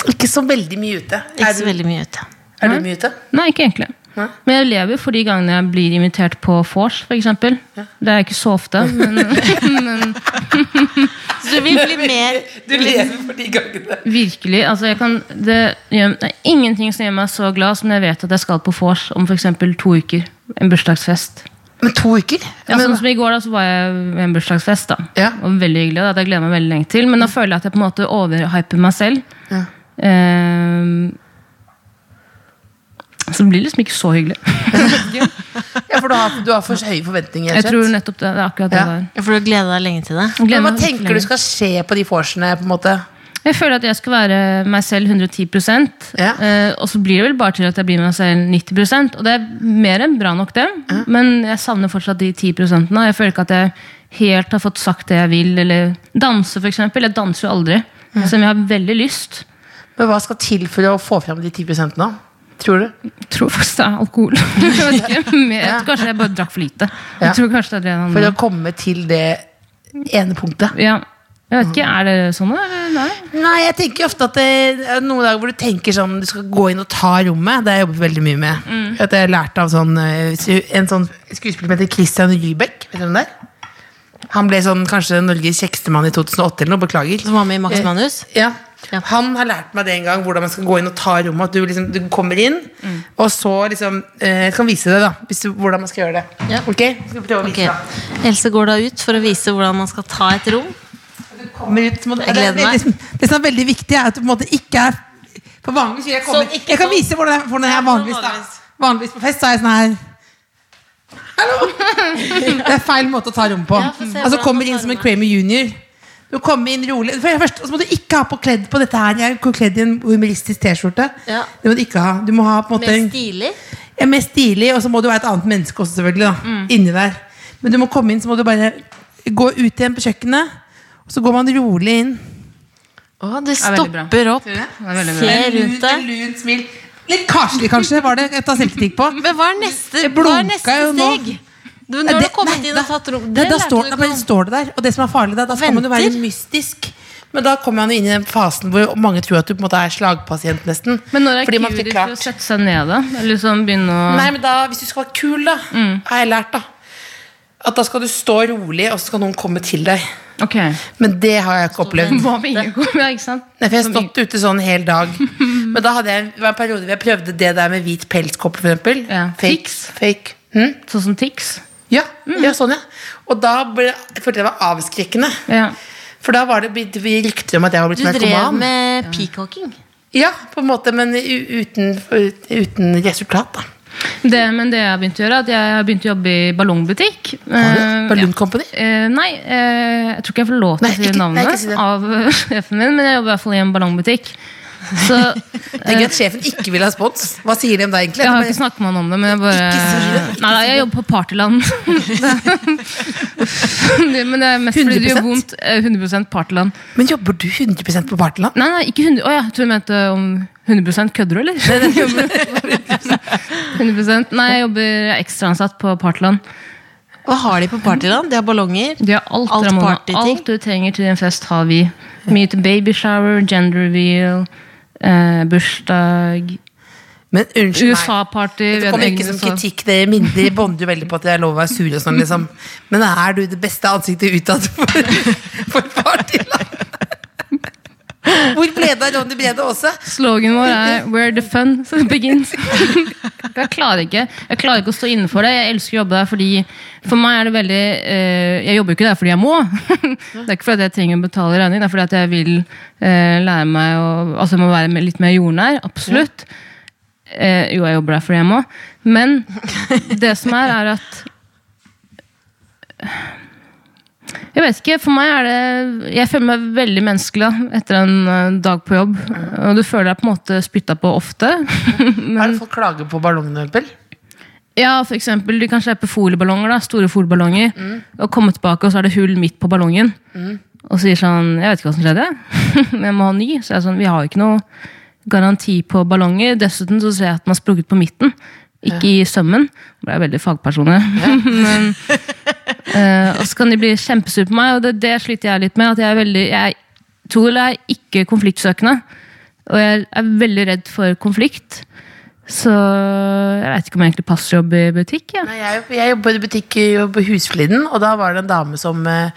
Speaker 4: Ikke så veldig mye ute.
Speaker 2: Ikke
Speaker 4: Er
Speaker 2: så
Speaker 4: du,
Speaker 2: veldig mye ute.
Speaker 4: er du mye ute?
Speaker 7: Nei, ikke egentlig. Men jeg lever jo for de gangene jeg blir invitert på vors, f.eks. Det er ikke så ofte. Men
Speaker 2: Så du vil bli mer
Speaker 4: Du lever for de gangene.
Speaker 7: virkelig, altså jeg kan, det, gjør, det er ingenting som gjør meg så glad som når jeg vet at jeg skal på vors om f.eks. to uker. En bursdagsfest.
Speaker 4: Men to uker?
Speaker 7: Ja,
Speaker 4: Men-
Speaker 7: sånn som I går da, så var jeg ved en bursdagsfest. da
Speaker 4: Ja.
Speaker 7: Og Veldig hyggelig. Da, at jeg gleder meg veldig lenge til Men da føler jeg at jeg på en måte overhyper meg selv.
Speaker 4: Ja.
Speaker 7: Ehm, så det blir liksom ikke så hyggelig.
Speaker 4: ja, for du har, du har for høye forventninger.
Speaker 7: Jeg
Speaker 4: rett og
Speaker 7: tror
Speaker 4: slett.
Speaker 7: nettopp det, det er akkurat det
Speaker 4: Ja.
Speaker 7: der.
Speaker 2: For du gleder deg lenge til det?
Speaker 7: Jeg
Speaker 4: Men Hva
Speaker 7: gleder meg virkelig
Speaker 4: tenker du
Speaker 7: lenge.
Speaker 4: skal skje på de vorsene? på en måte?
Speaker 7: Jeg føler at jeg skal være meg selv 110
Speaker 4: Ja.
Speaker 7: eh, Og så blir det vel bare til at jeg blir meg selv 90 Og det er mer enn bra nok, det. Men jeg savner fortsatt de 10 -ene, og Jeg føler ikke at jeg helt har fått sagt det jeg vil. Eller danse, f.eks. Jeg danser jo aldri. Selv om jeg har veldig lyst.
Speaker 4: Men hva skal til for å få fram de 10 nå? Tror du?
Speaker 7: Jeg tror faktisk det er alkohol. jeg vet ikke, mer. Jeg tror kanskje jeg bare drakk for lite.
Speaker 4: Ja.
Speaker 7: Jeg tror kanskje det er det han-
Speaker 4: For
Speaker 2: Mhm.
Speaker 4: å komme til det ene punktet?
Speaker 7: ja. Jeg vet ikke, Er det sånn, eller? Nei.
Speaker 4: Nei, jeg tenker ofte at det er noen dager hvor du tenker sånn Du skal gå inn og ta rommet. Det har jeg jobbet veldig mye med.
Speaker 2: Mm.
Speaker 4: At jeg lærte av sånn, eh, su- en sånn skuespiller som heter Christian Rybek. Vet du hvem det er? Han ble sånn, kanskje Norges kjekkeste mann i 2008 eller noe. Beklager.
Speaker 2: Som var med i
Speaker 4: Eh,
Speaker 2: Max Manus?
Speaker 4: Ja.
Speaker 2: Ja.
Speaker 4: Han har lært meg det en gang, hvordan man skal gå inn og ta rommet. At du, liksom, du kommer inn,
Speaker 2: Mm.
Speaker 4: og så liksom eh, Jeg kan vise deg, da, hvis du, hvordan man skal gjøre det.
Speaker 2: Ja.
Speaker 4: Ok? Skal vi prøve å
Speaker 2: Ok.
Speaker 4: vise deg.
Speaker 2: Else går da ut for å vise hvordan man skal ta et rom.
Speaker 4: Kommer ut, så må du,
Speaker 2: Jeg gleder
Speaker 4: det, er
Speaker 2: meg.
Speaker 4: veldig- det som er veldig viktig, er at du på en måte ikke er For vanligvis sier jeg kommer,
Speaker 2: Sånn, ikke
Speaker 4: Jeg kan
Speaker 2: sånn.
Speaker 4: vise hvordan jeg, hvordan jeg er
Speaker 2: Ja, sånn
Speaker 4: vanligvis,
Speaker 2: vanligvis.
Speaker 4: da. Vanligvis på fest så er jeg sånn her Hallo! Det er feil måte å ta rom på.
Speaker 2: Ja, få se
Speaker 4: altså
Speaker 2: hvordan man
Speaker 4: kommer
Speaker 2: tar
Speaker 4: inn som en
Speaker 2: rommet.
Speaker 4: Kramer junior. Du kommer inn rolig For det første, så må du ikke ha på kledd på dette her. Jeg er kledd i en humoristisk T-skjorte.
Speaker 2: Ja.
Speaker 4: Det må du ikke ha. Du må ha på en måte
Speaker 2: Mer
Speaker 4: en-
Speaker 2: stilig.
Speaker 4: ja, mer stilig, og så må du være et annet menneske også, selvfølgelig. da,
Speaker 2: Mm.
Speaker 4: Inni der. Men du må komme inn, så må du bare gå ut igjen på kjøkkenet. Og så går man rolig inn.
Speaker 2: Å, det
Speaker 7: er veldig bra.
Speaker 2: stopper opp.
Speaker 4: Ser du det?
Speaker 7: Det er veldig bra.
Speaker 2: Se rundt
Speaker 4: Lunt,
Speaker 2: deg.
Speaker 4: lunt smil. Litt karslig, kanskje, var det. Jeg tar selvkritikk på.
Speaker 2: Men hva er neste, hva
Speaker 4: Jeg
Speaker 2: er
Speaker 4: blunka
Speaker 2: neste
Speaker 4: jo nå.
Speaker 2: steg? Du, når du har kommet inn og tatt rom
Speaker 4: da,
Speaker 2: det
Speaker 4: da,
Speaker 2: lærte
Speaker 4: står,
Speaker 2: du
Speaker 4: da
Speaker 2: ikke
Speaker 4: bare
Speaker 2: om.
Speaker 4: står det der, og det som er farlig da, da skal man jo være
Speaker 2: Venter.
Speaker 4: mystisk. Men da kommer man jo inn i den fasen hvor mange tror at du på en måte er slagpasient, nesten.
Speaker 7: Men når er
Speaker 4: Fordi man
Speaker 7: cue
Speaker 4: fikk
Speaker 7: ditt til å
Speaker 4: klart-
Speaker 7: sette seg ned, da? Eller liksom begynne å
Speaker 4: Nei, men da, hvis du skal være kul, da, har jeg lært, da. At da skal du stå rolig, og så skal noen komme til deg.
Speaker 7: Ok.
Speaker 4: Men det har jeg ikke opplevd.
Speaker 7: Hva med ingen kom? Ja, ikke sant?
Speaker 4: Nei, for jeg har
Speaker 7: Som
Speaker 4: stått ute sånn en hel dag. Men da hadde jeg det var en periode hvor jeg prøvde det der med hvit pelskopp, for eksempel.
Speaker 7: Ja.
Speaker 4: Fake.
Speaker 7: Tics.
Speaker 4: Fake. Hm? Mm.
Speaker 7: Sånn som Tix?
Speaker 4: Ja, ja, sånn, ja. Og da ble, jeg følte jeg det var avskrekkende.
Speaker 7: Ja.
Speaker 4: For da var det begynte vi rykter om at jeg var blitt
Speaker 2: Du drev
Speaker 4: narkoman.
Speaker 2: med peacocking.
Speaker 4: Ja, på en måte, men u- uten, ut- uten resultat, da.
Speaker 7: Det, men det jeg har begynt å gjøre, er at jeg har begynt å jobbe i ballongbutikk. Eh,
Speaker 4: Balloon
Speaker 7: ja.
Speaker 4: Company?
Speaker 7: Eh, nei, eh, jeg tror ikke jeg får lov til
Speaker 4: Nei,
Speaker 7: å si
Speaker 4: ikke- nei,
Speaker 7: navnet
Speaker 4: ikke si det.
Speaker 7: av eh, sjefen min, men jeg jobber i hvert fall i en ballongbutikk. Så
Speaker 4: Det er gøy at sjefen ikke vil ha spons. Hva sier de om deg, egentlig?
Speaker 7: jeg har ikke snakket med han om det, men jeg bare
Speaker 4: Ikke si det, ikke
Speaker 7: Nei, nei, jeg jobber på Partyland. Det- men det er mest fordi det gjør
Speaker 4: 100%?
Speaker 7: vondt. Eh, 100 Partyland.
Speaker 4: Men jobber du 100 på Partyland?
Speaker 7: Nei, nei, ikke 100 Å ja, jeg tror du mente om 100 kødder du, eller? 100 Nei, jeg jobber jeg er ekstraansatt på Partyland.
Speaker 2: Hva har de på partyland? De har ballonger.
Speaker 7: De har alt,
Speaker 2: Alt
Speaker 7: Ramona.
Speaker 2: partyting.
Speaker 7: Alt du trenger til en fest, har vi. Mye til babyshower, gender reveal, eh, bursdag
Speaker 4: Men unnskyld meg.
Speaker 7: USA-party. vi
Speaker 4: Det
Speaker 7: hadde
Speaker 4: kommer ikke
Speaker 7: egen
Speaker 4: som
Speaker 7: USA.
Speaker 4: kritikk. Det minner bonder jo veldig på at jeg er lov å være sur. og sånn liksom. Men er du det beste ansiktet utad for, for partyland? Hvor ble det av Ronny Brede Aase?
Speaker 7: Sloganen vår er 'Where the fun begins'. jeg, klarer ikke, jeg klarer ikke å stå innenfor det. Jeg elsker å jobbe der fordi For meg er det veldig eh, Jeg jobber jo ikke der fordi jeg må. det er ikke fordi jeg trenger å betale regning, det er fordi at jeg vil eh, lære meg å Altså jeg må være litt mer jordnær. Absolutt. Eh, jo, jeg jobber der fordi jeg må. Men det som er, er at Jeg vet ikke, for meg er det Jeg føler meg veldig menneskelig da, etter en eh, dag på jobb. Og du føler deg på en måte spytta på ofte.
Speaker 4: Har
Speaker 7: Men
Speaker 4: du fått klage på ballongene? Ømpel?
Speaker 7: ja, for eksempel, du kan slippe folieballonger, da, store folieballonger, og komme tilbake, og så er det hull midt på ballongen. Og sier sånn Jeg vet ikke hva som skjedde, men jeg må ha ny. Så jeg er sånn, vi har ikke noe garanti på ballonger. Dessuten så ser jeg at den har sprukket på midten, ikke i sømmen. Nå ble jeg veldig fagperson, jeg. men eh, Og så kan de bli kjempesure på meg, og det, det sliter jeg litt med. At jeg er veldig Jeg er- tror det eller ei, ikke konfliktsøkende. Og jeg er veldig redd for konflikt. Så jeg veit ikke om jeg egentlig passer jobb i butikk. Ja.
Speaker 4: Nei, Jeg, jeg jobber i butikk jo på Husfliden, og da var det en dame som eh,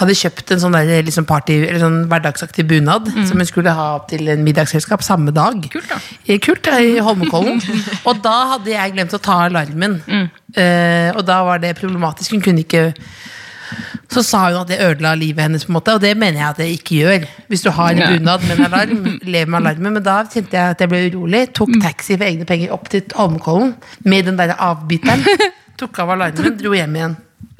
Speaker 4: hadde kjøpt en sånn der, liksom party, eller sånn hverdagsaktig bunad som hun skulle ha til en middagsselskap samme dag. Mm. Kult, da. Kult, ja, I Holmenkollen. og da hadde jeg glemt å ta alarmen. Eh, og da var det problematisk. Hun kunne ikke så sa hun at det ødela livet hennes, på en måte og det mener jeg at det ikke gjør. Hvis du har en
Speaker 7: Ja.
Speaker 4: bunad med en alarm, lev med alarmen. Men da kjente jeg at jeg ble urolig. Tok
Speaker 2: Mm.
Speaker 4: taxi for egne penger opp til Holmenkollen med den der avbiteren. Tok av alarmen, dro hjem igjen.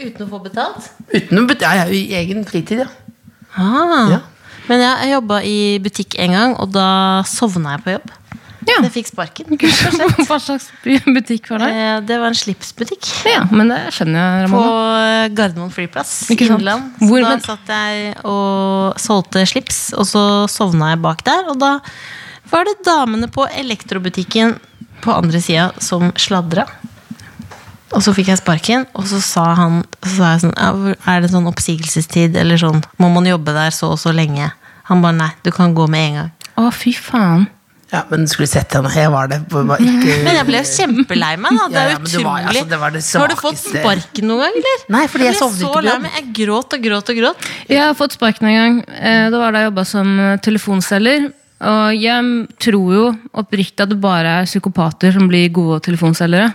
Speaker 2: Uten å få betalt?
Speaker 4: Uten å bet- ja, ja, i egen fritid, ja.
Speaker 2: Ah.
Speaker 4: Ja.
Speaker 2: Men jeg, jeg jobba i butikk en gang, og da sovna jeg på jobb.
Speaker 7: Ja.
Speaker 2: Jeg fikk sparken.
Speaker 7: Hva slags by- butikk var det?
Speaker 2: Eh, Det var en slipsbutikk.
Speaker 7: Ja, men det skjønner jeg,
Speaker 2: På
Speaker 7: Ramona.
Speaker 2: Gardermoen flyplass.
Speaker 7: Ikke sant?
Speaker 2: Innland. Så
Speaker 7: Hvor-
Speaker 2: da
Speaker 7: men-
Speaker 2: satt jeg og solgte slips, og så sovna jeg bak der. Og da var det damene på elektrobutikken på andre sida som sladra. Og så fikk jeg sparken, og så sa han så sa jeg sånn, «Ja, hvor- Er det sånn oppsigelsestid, eller sånn? Må man jobbe der så og så lenge? Han bare nei, du kan gå med en gang.
Speaker 7: Å, fy faen.
Speaker 4: ja. Men du skulle sett henne. Jeg var det. Var
Speaker 2: Men
Speaker 4: ikke...
Speaker 2: jeg ble kjempelei meg. Da. Det
Speaker 4: Ja,
Speaker 2: er
Speaker 4: ja, men det var-
Speaker 2: utrolig.
Speaker 4: altså, det var det
Speaker 2: Har du fått
Speaker 4: svakeste.
Speaker 2: sparken noen gang, eller?
Speaker 4: Nei, fordi jeg
Speaker 2: ble
Speaker 4: sovnet
Speaker 2: så
Speaker 4: ikke på
Speaker 2: lei
Speaker 4: jobb.
Speaker 2: meg. Jeg gråt og gråt og gråt.
Speaker 7: Jeg har fått sparken en gang. Eh, Det var da jeg jobba som eh, telefonselger. Og jeg tror jo oppriktig at det bare er psykopater som blir gode telefonselgere.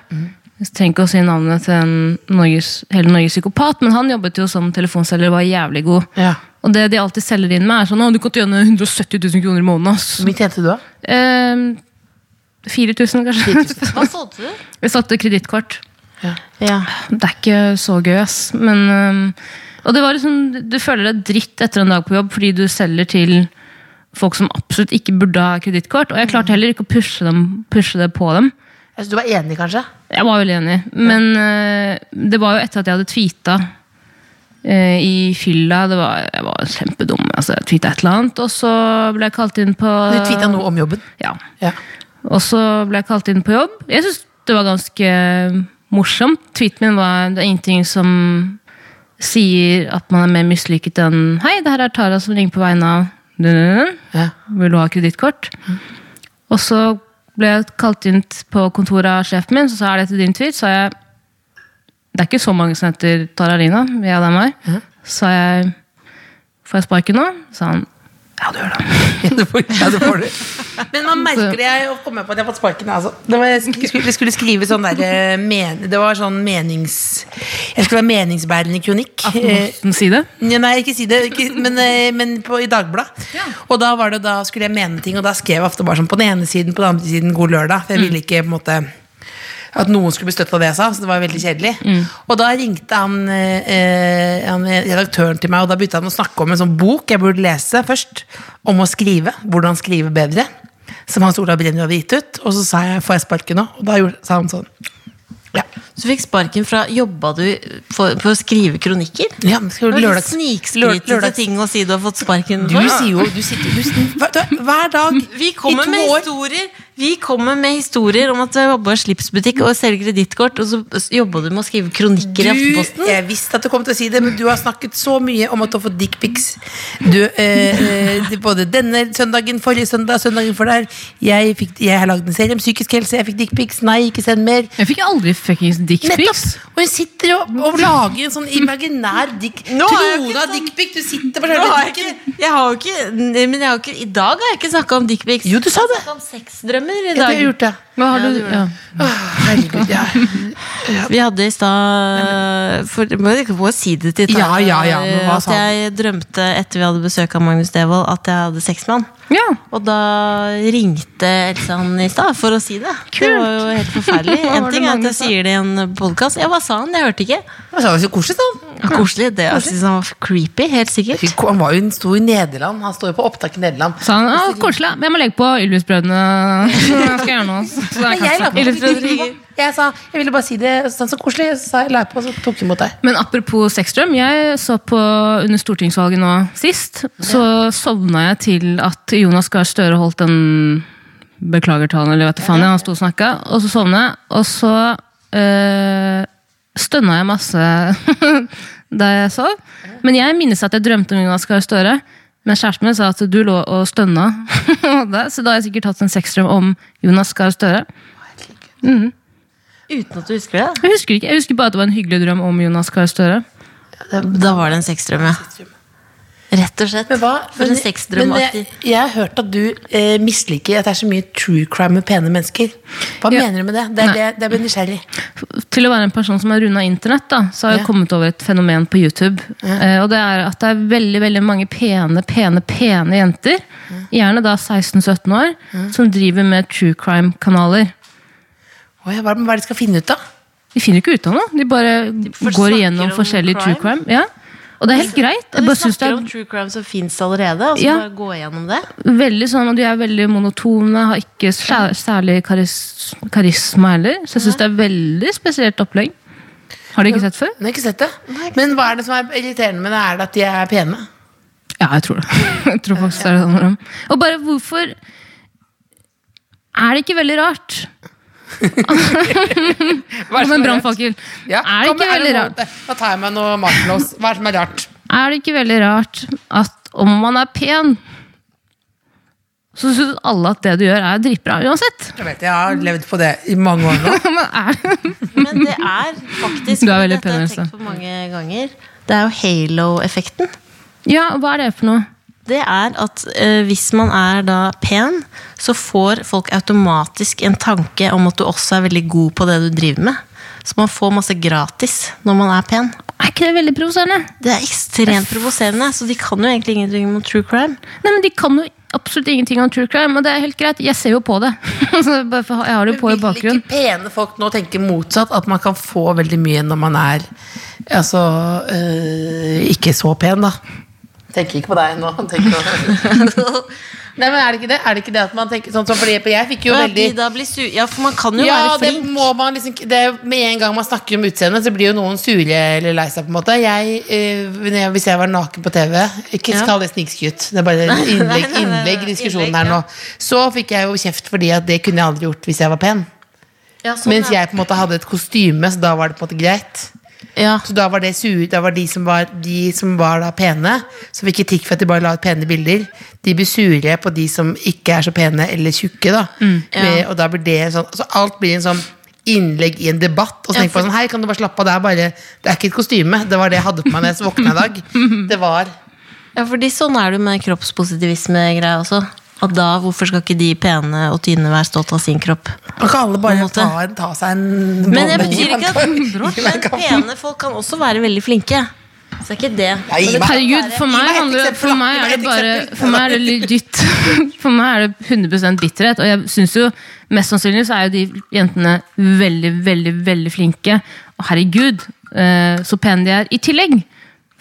Speaker 7: Jeg trenger ikke å si navnet til en Norges, hele Norges psykopat, men han jobbet jo som telefonselger og var jævlig god.
Speaker 4: Ja.
Speaker 7: Og det de alltid selger inn med, er sånn Å, du kan tjene 170 000 kroner i måneden, ass.
Speaker 4: Hvor mye tjente du, da?
Speaker 7: Eh, 4000, kanskje.
Speaker 2: Hva solgte du?
Speaker 7: Vi satte kredittkort.
Speaker 2: Ja.
Speaker 7: Det er ikke så gøy, ass. Men, øhm, og det var liksom, du føler deg dritt etter en dag på jobb fordi du selger til folk som absolutt ikke burde ha kredittkort. Og jeg klarte heller ikke å pushe, dem, pushe det på dem.
Speaker 4: Altså, du var enig, kanskje?
Speaker 7: Jeg var veldig enig. Men øh, det var jo etter at jeg hadde tweeta øh, i fylla. Det var, jeg var kjempedum. Altså, jeg tweeta et eller annet, og så ble jeg kalt inn på
Speaker 2: Eh.
Speaker 4: Du tweeta noe om jobben.
Speaker 7: Ja.
Speaker 4: Ja.
Speaker 7: Og så ble jeg kalt inn på jobb. Jeg syns det var ganske morsomt. Tweeten min var det er ingenting som sier at man er mer mislykket enn Hei, det her er Tara som ringer på vegne av dun-dun-dun.
Speaker 4: Ja.
Speaker 7: Vil du ha kredittkort? Og så ble jeg kalt inn t- på kontoret av sjefen min, så sa jeg det til din tweet. sa jeg Det er ikke så mange som heter Taralina. Ja, det er meg. Så sa jeg Får jeg sparken nå? sa han
Speaker 4: Ja, du får det. Men man merker det. Jeg kom jeg på at jeg har fått sparken. Altså. Det var, jeg skulle, jeg skulle skrive sånn der, eh, men, Det var sånn menings... Jeg skulle være meningsbærende kronikk. Eh,
Speaker 7: Aftenposten si det.
Speaker 4: ja, Nei, ikke si det, ikke, men, eh, men på, i Dagbladet. Og da, var det, da skulle jeg mene ting, og da skrev jeg ofte bare sånn på den ene siden, på den andre siden 'God lørdag'. For jeg
Speaker 2: Mm.
Speaker 4: ville ikke på en måte at noen skulle bli støtt av det jeg sa, så det var veldig kjedelig.
Speaker 2: Mm.
Speaker 4: Og da ringte han, eh, han redaktøren til meg, og da begynte han å snakke om en sånn bok jeg burde lese først, om å skrive, hvordan skrive bedre, som Hans Olav Brenner hadde gitt ut. Og så sa jeg 'får jeg sparken nå?' Og da gjorde, sa han sånn. Ja,
Speaker 2: Så fikk sparken fra Jobba du for, for å skrive kronikker?
Speaker 4: ja men skal
Speaker 2: Det
Speaker 4: du
Speaker 2: var litt
Speaker 4: lørdags...
Speaker 2: Snikskryt til
Speaker 4: lørdags-
Speaker 2: ting å si du har fått sparken
Speaker 4: Du sier jo du sitter, du, hver, hver dag
Speaker 2: Vi kommer,
Speaker 4: i to
Speaker 2: med
Speaker 4: år
Speaker 2: historier, vi kommer med historier om at du jobba i slipsbutikk og selger kredittkort, og så jobba du med å skrive kronikker i
Speaker 4: du,
Speaker 2: Aftenposten.
Speaker 4: Jeg visste at du kom til å si det, men du har snakket så mye om at du har fått dickpics. Du, eh, eh, både denne søndagen, forrige søndag, søndagen for der. Jeg, fikk, jeg har lagd en serie om psykisk helse, jeg fikk dickpics. Nei, ikke send mer.
Speaker 7: Jeg fikk aldri fuckings dickpics.
Speaker 4: Nettopp! Og hun sitter og, og lager en sånn imaginær dick
Speaker 2: Nå er jeg ikke
Speaker 4: Trona dickpic! Du sitter på
Speaker 2: Nå
Speaker 4: selve
Speaker 2: har jeg
Speaker 4: dicken.
Speaker 2: ikke, jeg har jo ikke, men jeg har jo ikke, i dag har jeg ikke snakka om dickpics.
Speaker 4: Jo, du sa det!
Speaker 2: Jeg snakket om sexdrømmer i
Speaker 4: Ja,
Speaker 2: dag.
Speaker 4: du har gjort det.
Speaker 7: Hva har du, ja.
Speaker 4: Herregud, ja.
Speaker 2: Vi hadde i stad for- Må jeg må jeg si det til Tara,
Speaker 4: Ja, ja, ja, men hva
Speaker 2: At
Speaker 4: sa
Speaker 2: jeg drømte etter vi hadde besøk av Magnus Devold, at jeg hadde sex med han.
Speaker 7: ja.
Speaker 2: Og da ringte Else han i stad for å si det. Det
Speaker 7: Kult.
Speaker 2: var jo helt forferdelig.
Speaker 7: Hva
Speaker 2: En
Speaker 7: var det
Speaker 2: ting er at jeg
Speaker 7: Magnus sa?
Speaker 2: sier det i en podkast. Ja, hva sa han? Jeg hørte ikke.
Speaker 4: Han sa det så koselig, sånn.
Speaker 2: Ja, koselig. Det jeg synes han var creepy, helt sikkert.
Speaker 4: Han var jo en stor i Nederland. Han står jo på opptak i Nederland.
Speaker 7: Sa han ah, koselig. Men jeg må legge på Ylvis-brødrene. Jeg skal gjøre noe. Så jeg
Speaker 4: Men
Speaker 7: kan
Speaker 4: jeg la
Speaker 7: snakke.
Speaker 4: på. Jeg sa, jeg ville bare si det så sa han, så koselig. Så sa jeg la på, og så tok jeg imot deg.
Speaker 7: Men apropos sexdrøm, jeg så på under stortingsvalget nå sist, så sovna jeg til at Jonas Gahr Støre holdt den beklagertalen, eller vet du faen, jeg, han sto og snakka, og så sovna jeg, og så øh, stønna jeg masse da jeg sov. Men jeg minnes at jeg drømte om Jonas Gahr Støre, men kjæresten min sa at du lå og stønna, så da har jeg sikkert hatt en sexdrøm om Jonas Gahr Støre.
Speaker 2: Uten at du husker det.
Speaker 7: Jeg husker ikke, jeg husker bare at det var en hyggelig drøm om Jonas Gahr Støre.
Speaker 2: Da var det en sexdrøm, ja. Rett og slett.
Speaker 4: Men hva?
Speaker 2: For en
Speaker 4: men- men
Speaker 2: sexdrømaktig.
Speaker 4: jeg, jeg har hørt at du eh, misliker at det er så mye true crime med pene mennesker. Hva
Speaker 7: Ja.
Speaker 4: mener du med det? Det er det, det jeg blir nysgjerrig.
Speaker 7: til å være en person som har runda internett, da, så har jeg
Speaker 4: Ja.
Speaker 7: kommet over et fenomen på YouTube. Eh, og det er at det er veldig veldig mange pene, pene, pene jenter, gjerne da 16-17 år, som driver med true crime-kanaler.
Speaker 4: Åja, hva, hva er det de skal finne ut av?
Speaker 7: De finner ikke ut av noe. De bare går
Speaker 2: snakker
Speaker 7: igjennom
Speaker 2: om
Speaker 7: forskjellige true crime. Ja. Og det er helt greit. Jeg
Speaker 2: Og de
Speaker 7: bare synes det
Speaker 2: snakker
Speaker 7: er
Speaker 2: om true crime som fins allerede. Og så
Speaker 7: Ja.
Speaker 2: bare gå gjennom det.
Speaker 7: veldig sånn, og De er veldig monotone, har ikke sær- særlig karis karisma heller. Så jeg syns det er veldig spesielt opplegg. Har du ikke sett før?
Speaker 4: Jeg har ikke sett det. Men hva er det som er irriterende med det? Er det at de er pene?
Speaker 7: Ja, jeg tror det. Jeg tror faktisk det er det det handler om. Og bare hvorfor Er det ikke veldig rart? Som en brannfakkel. er det
Speaker 4: kom,
Speaker 7: ikke
Speaker 4: er
Speaker 7: veldig
Speaker 4: noe-
Speaker 7: rart?
Speaker 4: Da tar jeg meg noe marshmallows. Hva er det som er rart?
Speaker 7: Er det ikke veldig rart at om man er pen, så syns alle at det du gjør, er dritbra uansett?
Speaker 4: Jeg vet, jeg har levd på det i mange år nå.
Speaker 7: Men er det
Speaker 2: Men det er faktisk
Speaker 7: Du er veldig
Speaker 2: Dette har jeg
Speaker 7: pen, altså. Else.
Speaker 2: tenkt på mange ganger. Det er jo halo-effekten.
Speaker 7: Ja, hva er det for noe?
Speaker 2: Det er at eh, hvis man er da pen, så får folk automatisk en tanke om at du også er veldig god på det du driver med. Så man får masse gratis når man er pen.
Speaker 7: Er ikke det veldig provoserende?
Speaker 2: Det er ekstremt provoserende, så de kan jo egentlig ingenting mot true crime.
Speaker 7: Nei, men De kan jo absolutt ingenting om true crime, og det er helt greit. Jeg ser jo på det. Så bare for- Jeg har det på i
Speaker 4: Vil
Speaker 7: bakgrunnen.
Speaker 4: ikke pene folk nå tenke motsatt, at man kan få veldig mye når man er altså, øh, ikke så pen, da? Tenker ikke på deg nå. tenker på- Nei, men er det, ikke det? er det ikke det at man tenker sånn som fordi jeg fikk jo
Speaker 2: Ja, de
Speaker 4: veldig
Speaker 2: da blir sur. ja, for man kan jo
Speaker 4: ja,
Speaker 2: være
Speaker 4: det
Speaker 2: flink.
Speaker 4: må man liksom det, er- Med en gang man snakker om utseendet, så blir jo noen sure eller lei seg. på en måte jeg, øh, når jeg- Hvis jeg var naken på TV Ikke
Speaker 2: Ja.
Speaker 4: kall det snikskryt, det er bare innlegg,
Speaker 2: nei, nei, nei,
Speaker 4: innlegg i diskusjonen her
Speaker 2: innlegg, ja.
Speaker 4: nå. Så fikk jeg jo kjeft fordi at det kunne jeg aldri gjort hvis jeg var pen.
Speaker 2: Ja, sånn
Speaker 4: Mens
Speaker 2: er
Speaker 4: jeg på en måte hadde et kostyme, så da var det på en måte greit.
Speaker 2: det. ja.
Speaker 4: Så da var det sure, da var de som var, de som var da pene, som fikk kritikk for at de bare la ut pene bilder, de blir sure på de som ikke er så pene eller tjukke. da.
Speaker 2: Mm,
Speaker 4: Med, og da blir det sånn, Så alt blir en sånn innlegg i en debatt. Og så tenker man sånn, hei, kan du bare slappe av, det er bare, det er ikke et kostyme. Det var det jeg hadde på meg da jeg våkna i dag. Det var
Speaker 2: ja, fordi sånn er det jo med kroppspositivisme-greia også. Og da, hvorfor skal ikke de pene og tynne være stolt av sin kropp?
Speaker 4: Kan ikke alle
Speaker 2: På en
Speaker 4: bare
Speaker 2: måte.
Speaker 4: ta, en- ta seg en
Speaker 2: Men jeg
Speaker 4: bolle i
Speaker 2: betyr ikke at
Speaker 4: verden?
Speaker 2: men pene folk kan også være veldig flinke. Så det er ikke det.
Speaker 4: Nei, gi meg-
Speaker 7: Herregud, for meg,
Speaker 4: et
Speaker 7: handler,
Speaker 4: eksempel,
Speaker 7: for
Speaker 4: da.
Speaker 7: meg
Speaker 4: Gi meg
Speaker 7: er det
Speaker 4: et
Speaker 7: bare
Speaker 4: eksempel.
Speaker 7: For meg er det litt dytt. For meg er det 100 bitterhet. Og jeg synes jo mest sannsynlig så er jo de jentene veldig, veldig veldig flinke. Og herregud, eh, så pene de er. I tillegg!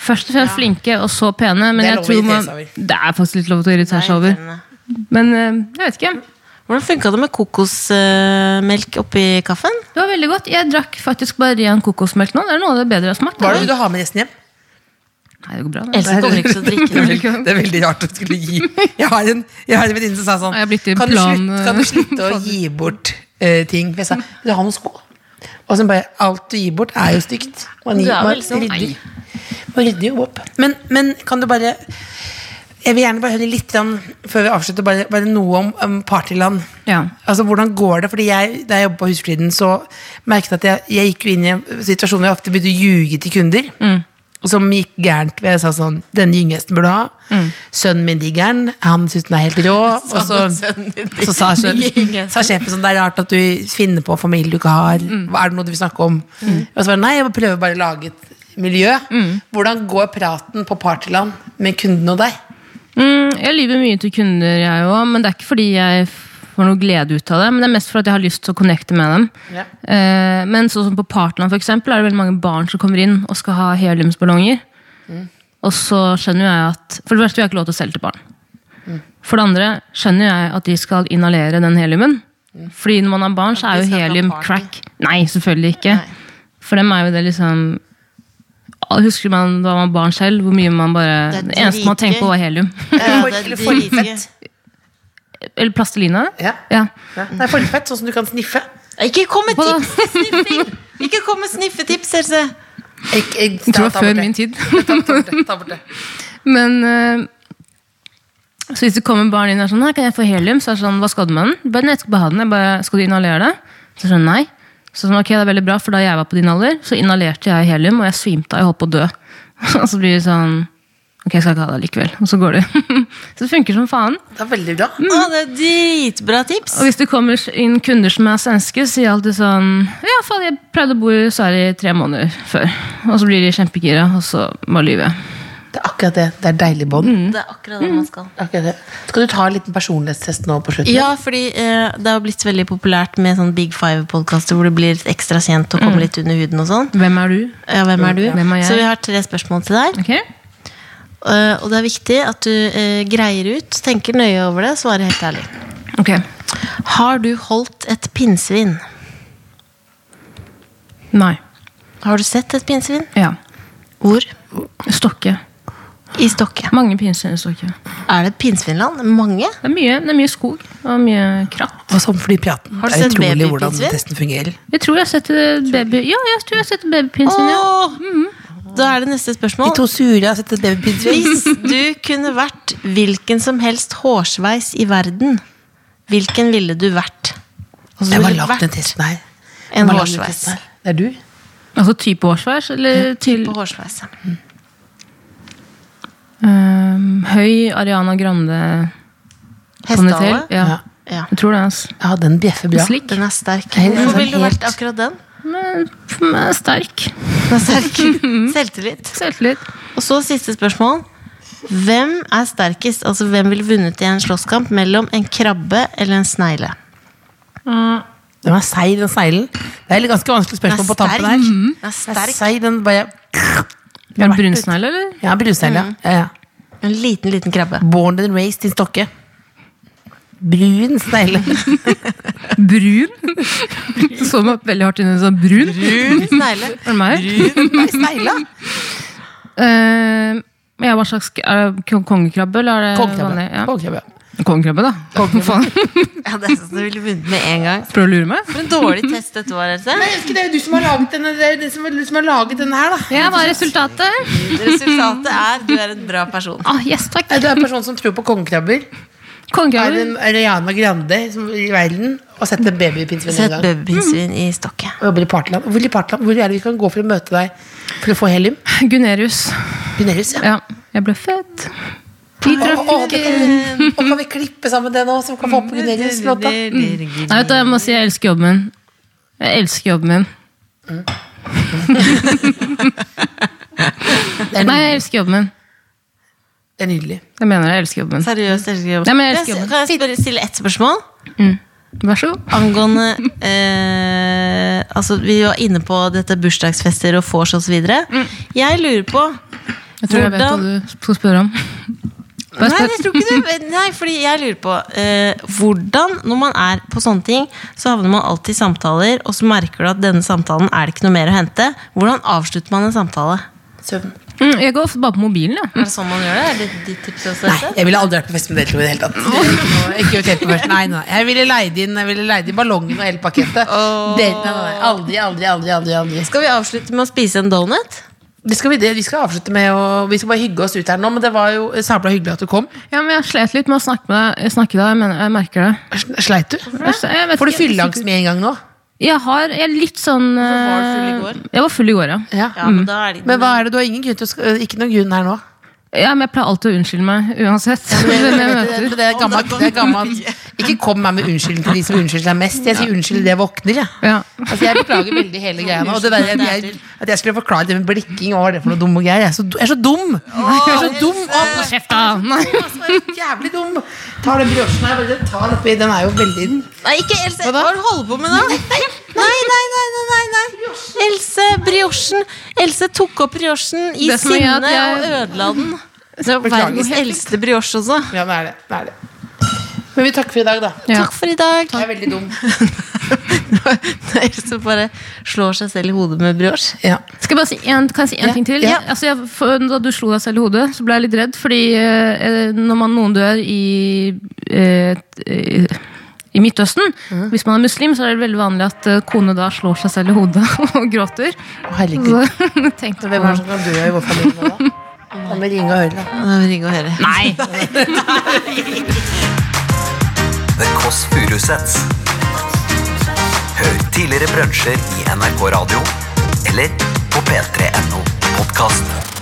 Speaker 7: Først og fremst flinke, og så pene. Men
Speaker 4: Det er
Speaker 7: jeg
Speaker 4: lov å
Speaker 7: tror
Speaker 4: irritere
Speaker 7: man,
Speaker 4: seg over.
Speaker 7: det er faktisk litt lov til å irritere seg over. Men eh, jeg vet ikke.
Speaker 2: Hvordan funka det med kokosmelk oppi kaffen?
Speaker 7: Det var veldig godt. Jeg drakk faktisk bare ren kokosmelk nå. Det er noe av det bedre jeg har smakt.
Speaker 4: Hva er det du har med resten hjem?
Speaker 7: Nei, det går bra. Det.
Speaker 2: Else kommer ikke til å drikke
Speaker 7: Det
Speaker 2: det.
Speaker 7: er ikke-
Speaker 4: Det er veldig rart å skulle gi Jeg har en, jeg har en eh, venninne som sa sånn
Speaker 7: Jeg har blitt i
Speaker 4: kan, du
Speaker 7: plan-
Speaker 4: slutte, kan du slutte å gi bort eh, ting? For jeg sa, vil du har noen sko? Og så bare, alt du gir bort er jo stygt Man,
Speaker 2: Du
Speaker 4: gir,
Speaker 2: er
Speaker 4: man
Speaker 2: vel sånn,
Speaker 4: rydder Man rydder jo opp men, men kan du bare Jeg vil gjerne bare høre litt grann, Før vi avslutter, bare, bare noe om, om partyland
Speaker 7: Ja.
Speaker 4: Altså, hvordan går det? Fordi jeg, Da jeg jobbet på Husfliden, så merket jeg at jeg, jeg gikk jo inn i en situasjon hvor jeg ofte begynte å ljuge til kunder. Som gikk gærent. hvor Jeg sa sånn Denne gyngehesten burde du ha. Sønnen min digger den. Han syns den er helt rå. Og så, så sa, sjef- sa sjefen sånn Det er rart at du finner på en familie du ikke har. Hva Er det noe du vil snakke om? Og så var det nei, jeg prøver bare å lage et miljø. Hvordan går praten på partyland med kundene og deg?
Speaker 7: Mm, jeg lyver mye til kunder, jeg òg. Men det er ikke fordi jeg får noe glede ut av det. Men det er mest for at jeg har lyst til å connecte med dem.
Speaker 4: Ja.
Speaker 7: Eh, men sånn som på Partland for eksempel, er det veldig mange barn som kommer inn og skal ha heliumsballonger.
Speaker 2: Mm.
Speaker 7: Og så skjønner jo jeg at For det første, vi har ikke lov til å selge til barn. For det andre skjønner jeg at de skal inhalere den heliumen.
Speaker 2: Mm.
Speaker 7: Fordi når man er barn, så er jo helium crack. Nei, selvfølgelig ikke. For dem er jo det liksom Husker man da man var barn selv, hvor mye man bare
Speaker 2: Det er
Speaker 7: Det eneste man tenker på, var helium.
Speaker 4: Eh,
Speaker 2: Ja, det er dritgøy.
Speaker 7: Eller plastelina?
Speaker 4: Ja.
Speaker 7: ja.
Speaker 4: Det er forfett, sånn som du kan sniffe.
Speaker 2: Ikke kom med tips til sniffing! Ikke kom med sniffetips, Else!
Speaker 4: Jeg, jeg,
Speaker 7: Jeg
Speaker 4: ta- ta
Speaker 7: tror det var
Speaker 4: bort
Speaker 7: før
Speaker 4: det.
Speaker 7: min tid.
Speaker 4: Ta bort det, ta bort det.
Speaker 7: Men eh, Så hvis det kommer barn inn og er sånn «Nei, 'Kan jeg få helium?' Så er det sånn 'Hva skal du med den?' Bare, «Nei, 'Jeg skal bare ha den.' Jeg bare, 'Skal du inhalere det?' Så er det sånn nei. Så sånn, ok, det er veldig bra, for Da jeg var på din alder, så inhalerte jeg helium, og jeg svimte av. Jeg holdt på å dø. Og så blir det sånn Ok, jeg skal ikke ha det likevel. Og så går det. så det funker som faen.
Speaker 4: Det er veldig bra.
Speaker 7: Mm.
Speaker 2: Å, det er dritbra tips!
Speaker 7: Og hvis det kommer inn kunder som er svenske, sier jeg alltid sånn Ja, faen, jeg pleide å bo i Sverige i tre måneder før. Og så blir de kjempegira, og så bare lyver jeg.
Speaker 4: Det er akkurat det. Det er deilig bånd.
Speaker 7: Mm.
Speaker 2: Det er akkurat det man skal.
Speaker 4: Akkurat det. Skal du ta en liten personlighetstest nå på slutten?
Speaker 2: Ja, fordi eh, det har blitt veldig populært med sånn Big Five-podkaster hvor det blir litt ekstra kjent og kommer litt under huden og sånn.
Speaker 7: Hvem er du?
Speaker 2: Ja, hvem er du?
Speaker 7: Mm. Hvem er jeg?
Speaker 2: Så vi har tre spørsmål til deg.
Speaker 7: Ok?
Speaker 2: eh, og det er viktig at du eh, greier ut, tenker nøye over det, svarer helt ærlig.
Speaker 7: Ok.
Speaker 2: Har du holdt et pinnsvin?
Speaker 7: Nei.
Speaker 2: Har du sett et pinnsvin?
Speaker 7: Ja.
Speaker 2: Hvor?
Speaker 7: Stokke.
Speaker 2: I Stokke.
Speaker 7: Mange pinnsvin i Stokke.
Speaker 2: Er det et pinnsvinland? Mange?
Speaker 7: Det er mye, det er mye skog og mye kratt.
Speaker 4: Og sånn fordi praten.
Speaker 2: Har du
Speaker 4: det er
Speaker 2: sett
Speaker 4: utrolig hvordan
Speaker 2: babypinnsvin?
Speaker 4: testen fungerer.
Speaker 7: Jeg tror jeg har sett et baby... Ja, jeg tror jeg har sett et babypinnsvin, ja.
Speaker 2: Åh! mm. Da er det neste spørsmål.
Speaker 4: De to sure har sett et babypinnsvin.
Speaker 2: Hvis du kunne vært hvilken som helst hårsveis i verden, hvilken ville du vært? Altså, du
Speaker 4: Jeg har
Speaker 2: ville
Speaker 4: lagd
Speaker 2: vært
Speaker 4: den testen her.
Speaker 2: En
Speaker 4: Bare lagd den
Speaker 2: hårsveis.
Speaker 4: testen her. Det er du?
Speaker 7: Altså type årsvers, eller til
Speaker 2: På hårsveis. ja.
Speaker 7: ehm, høy Ariana Grande sånn
Speaker 2: Hestehale?
Speaker 7: Ja.
Speaker 4: Ja.
Speaker 2: Ja.
Speaker 7: Jeg tror det, altså.
Speaker 4: Ja, den bjeffer bra.
Speaker 7: Slik.
Speaker 2: Den er sterk.
Speaker 4: Nei, den er
Speaker 2: Hvorfor
Speaker 4: sånn
Speaker 2: ville du vært
Speaker 4: helt-
Speaker 2: akkurat den?
Speaker 7: Men for meg er sterk.
Speaker 2: Den er sterk. Selvtillit.
Speaker 7: Selvtillit.
Speaker 2: Og så siste spørsmål. Hvem er sterkest? Altså, hvem ville vunnet i en slåsskamp mellom en krabbe eller en snegle?
Speaker 4: Den er seig, den sneglen. Det er litt ganske vanskelig spørsmål på tampen her.
Speaker 2: Den Mm. er
Speaker 4: Den er
Speaker 2: sterk.
Speaker 4: seig, den bare
Speaker 7: Er det brunsnegle, eller?
Speaker 4: Ja, brunsnegle. Ja, ja.
Speaker 2: En liten, liten krabbe.
Speaker 4: Born and raised in Stokke. Brun snegle.
Speaker 7: Brun? Du så meg veldig hardt inn i sånn brun.
Speaker 2: En snegle.
Speaker 7: Er det meg?
Speaker 4: Nei, snegla.
Speaker 7: Eh, ja, hva slags er det kon- kongekrabbe, eller er det
Speaker 4: Kongekrabbe.
Speaker 7: vanlig? Ja.
Speaker 4: Kongekrabbe, ja.
Speaker 7: Kongekrabbe, da. Faen,
Speaker 2: Ja, det er sånn at du ville vunnet med en gang.
Speaker 7: Prøver å lure meg?
Speaker 2: For en dårlig test dette var, Else.
Speaker 4: Nei, jeg husker det er jo du som har laget denne, det er jo du som, du som har laget denne her, da.
Speaker 7: Ja, hva er resultatet?
Speaker 2: Resultatet er du er en bra person.
Speaker 7: Ah, yes, takk.
Speaker 4: Nei, Du er en person som tror på kongekrabber. Er
Speaker 7: Kongekrabbe.
Speaker 4: en Ariana Grande som, i verden og sett en babypinnsvin
Speaker 2: Sett
Speaker 4: en gang.
Speaker 2: babypinnsvin i stokket.
Speaker 4: Og jobber i Partland. Hvor, i Partland, hvor er det vi kan gå for å møte deg for å få helium?
Speaker 7: Gunerius.
Speaker 4: Gunerius, ja.
Speaker 7: Ja, jeg ble født. I trafikken.
Speaker 4: Og kan vi klippe sammen det nå, som kan få opp Gunerius-låta?
Speaker 2: Mm.
Speaker 7: Nei, vet du, jeg må si jeg elsker jobben min. Jeg elsker jobben min.
Speaker 4: Mm.
Speaker 7: Nei, jeg elsker jobben min.
Speaker 4: Det er nydelig.
Speaker 7: Jeg mener det, jeg elsker jobben min.
Speaker 2: Seriøst, jeg elsker jobben.
Speaker 7: Nei, men jeg elsker
Speaker 2: Kan
Speaker 7: jobben.
Speaker 2: jeg spørre- stille ett spørsmål?
Speaker 7: Vær så god.
Speaker 2: Angående eh, Altså, vi var inne på dette bursdagsfester og vors osv. videre Jeg lurer på
Speaker 7: Jeg tror jeg vet hva
Speaker 2: Hvordan-
Speaker 7: du skal spørre om.
Speaker 2: Nei,
Speaker 7: Bare spør.
Speaker 2: jeg tror ikke du Nei, fordi jeg lurer på eh, Hvordan, når man er på sånne ting, så havner man alltid i samtaler, og så merker du at denne samtalen er det ikke noe mer å hente. Hvordan avslutter man en samtale?
Speaker 4: Søvn.
Speaker 7: Mm, Jeg går ofte bare på mobilen, jeg.
Speaker 2: Er det sånn man gjør det? Er det ditt tips også?
Speaker 4: Nei, jeg ville aldri vært på fest med dere to i det hele tatt. Det er ikke noe- Ikke hotell på fest. Nei, nei. Jeg ville leid inn, jeg ville leid inn ballongen og hele pakketten. Det, nei, nei, aldri, aldri, aldri, aldri, aldri.
Speaker 2: Skal vi avslutte med å spise en donut?
Speaker 4: Det skal vi, det, vi skal avslutte med å Vi skal bare hygge oss ut her nå, men det var jo sabla hyggelig at du kom.
Speaker 7: Ja, men jeg slet litt med å snakke med deg. Snakke i dag, jeg, mener, jeg merker det.
Speaker 4: Sleit du?
Speaker 7: Jeg, Altså, jeg vet
Speaker 4: Får du
Speaker 7: ikke, jeg-
Speaker 4: fylleangst med en gang nå?
Speaker 7: Jeg har jeg er litt
Speaker 2: Hvorfor
Speaker 7: sånn
Speaker 2: var du full i går?
Speaker 7: eh, Jeg var full i går, ja.
Speaker 2: Ja, men da er det
Speaker 4: Men hva er det? Du har ingen grunn til å sk- Ikke noen grunn her nå.
Speaker 7: ja. Men jeg pleier alltid å unnskylde meg uansett. Hvem jeg møter.
Speaker 4: Det er gammelt, det er gammelt. Ikke kom meg med unnskyldning til de som unnskylder seg mest. Jeg sier unnskyld idet jeg våkner. Jeg.
Speaker 7: Ja.
Speaker 4: Altså, jeg beklager veldig hele greia nå. Og det der, at, jeg, at jeg skulle forklare det med blikking, og hva er det for noe dumme greier? Jeg er så, jeg er så dum! Jeg er så dum og
Speaker 7: Hold kjeft, da! Nei.
Speaker 4: jævlig dum! Tar den briochen her, bare tar den oppi. Den er jo veldig
Speaker 2: Nei, ikke Else. Hva er det du holder på med nå? Nei, nei, nei, nei, nei, nei. Else, briochen. Else tok opp briochen i
Speaker 7: Det som
Speaker 2: sinne
Speaker 7: gjør at jeg-
Speaker 2: og ødela den. Det var
Speaker 4: Beklager.
Speaker 2: verdens eldste brioche også.
Speaker 4: Ja, det er det. det er det. Men vi takker for i dag, da.
Speaker 7: Ja.
Speaker 2: Takk for i dag.
Speaker 4: Jeg er veldig dum.
Speaker 2: Else bare slår seg selv i hodet med brioche.
Speaker 4: Ja.
Speaker 7: Skal jeg bare si en, kan jeg si en ting til?
Speaker 4: ja.
Speaker 7: Altså, jeg, for, da du slo deg selv i hodet, så ble jeg litt redd. Fordi eh, når man, noen dør i, eh, t- eh, i Midtøsten,
Speaker 2: Mm.
Speaker 7: hvis man er muslim, så er det veldig vanlig at eh, kone da slår seg selv i hodet og gråter.
Speaker 4: Å, herregud.
Speaker 7: Så tenkte jeg
Speaker 4: Hvem er det som kan dø i vår familie nå, da? Kan vi ringe og høre, da?
Speaker 2: Ring og høre.
Speaker 7: Nei!
Speaker 1: The Kåss Furuseths. Hør tidligere brunsjer i NRK Radio eller på p3.no podkast.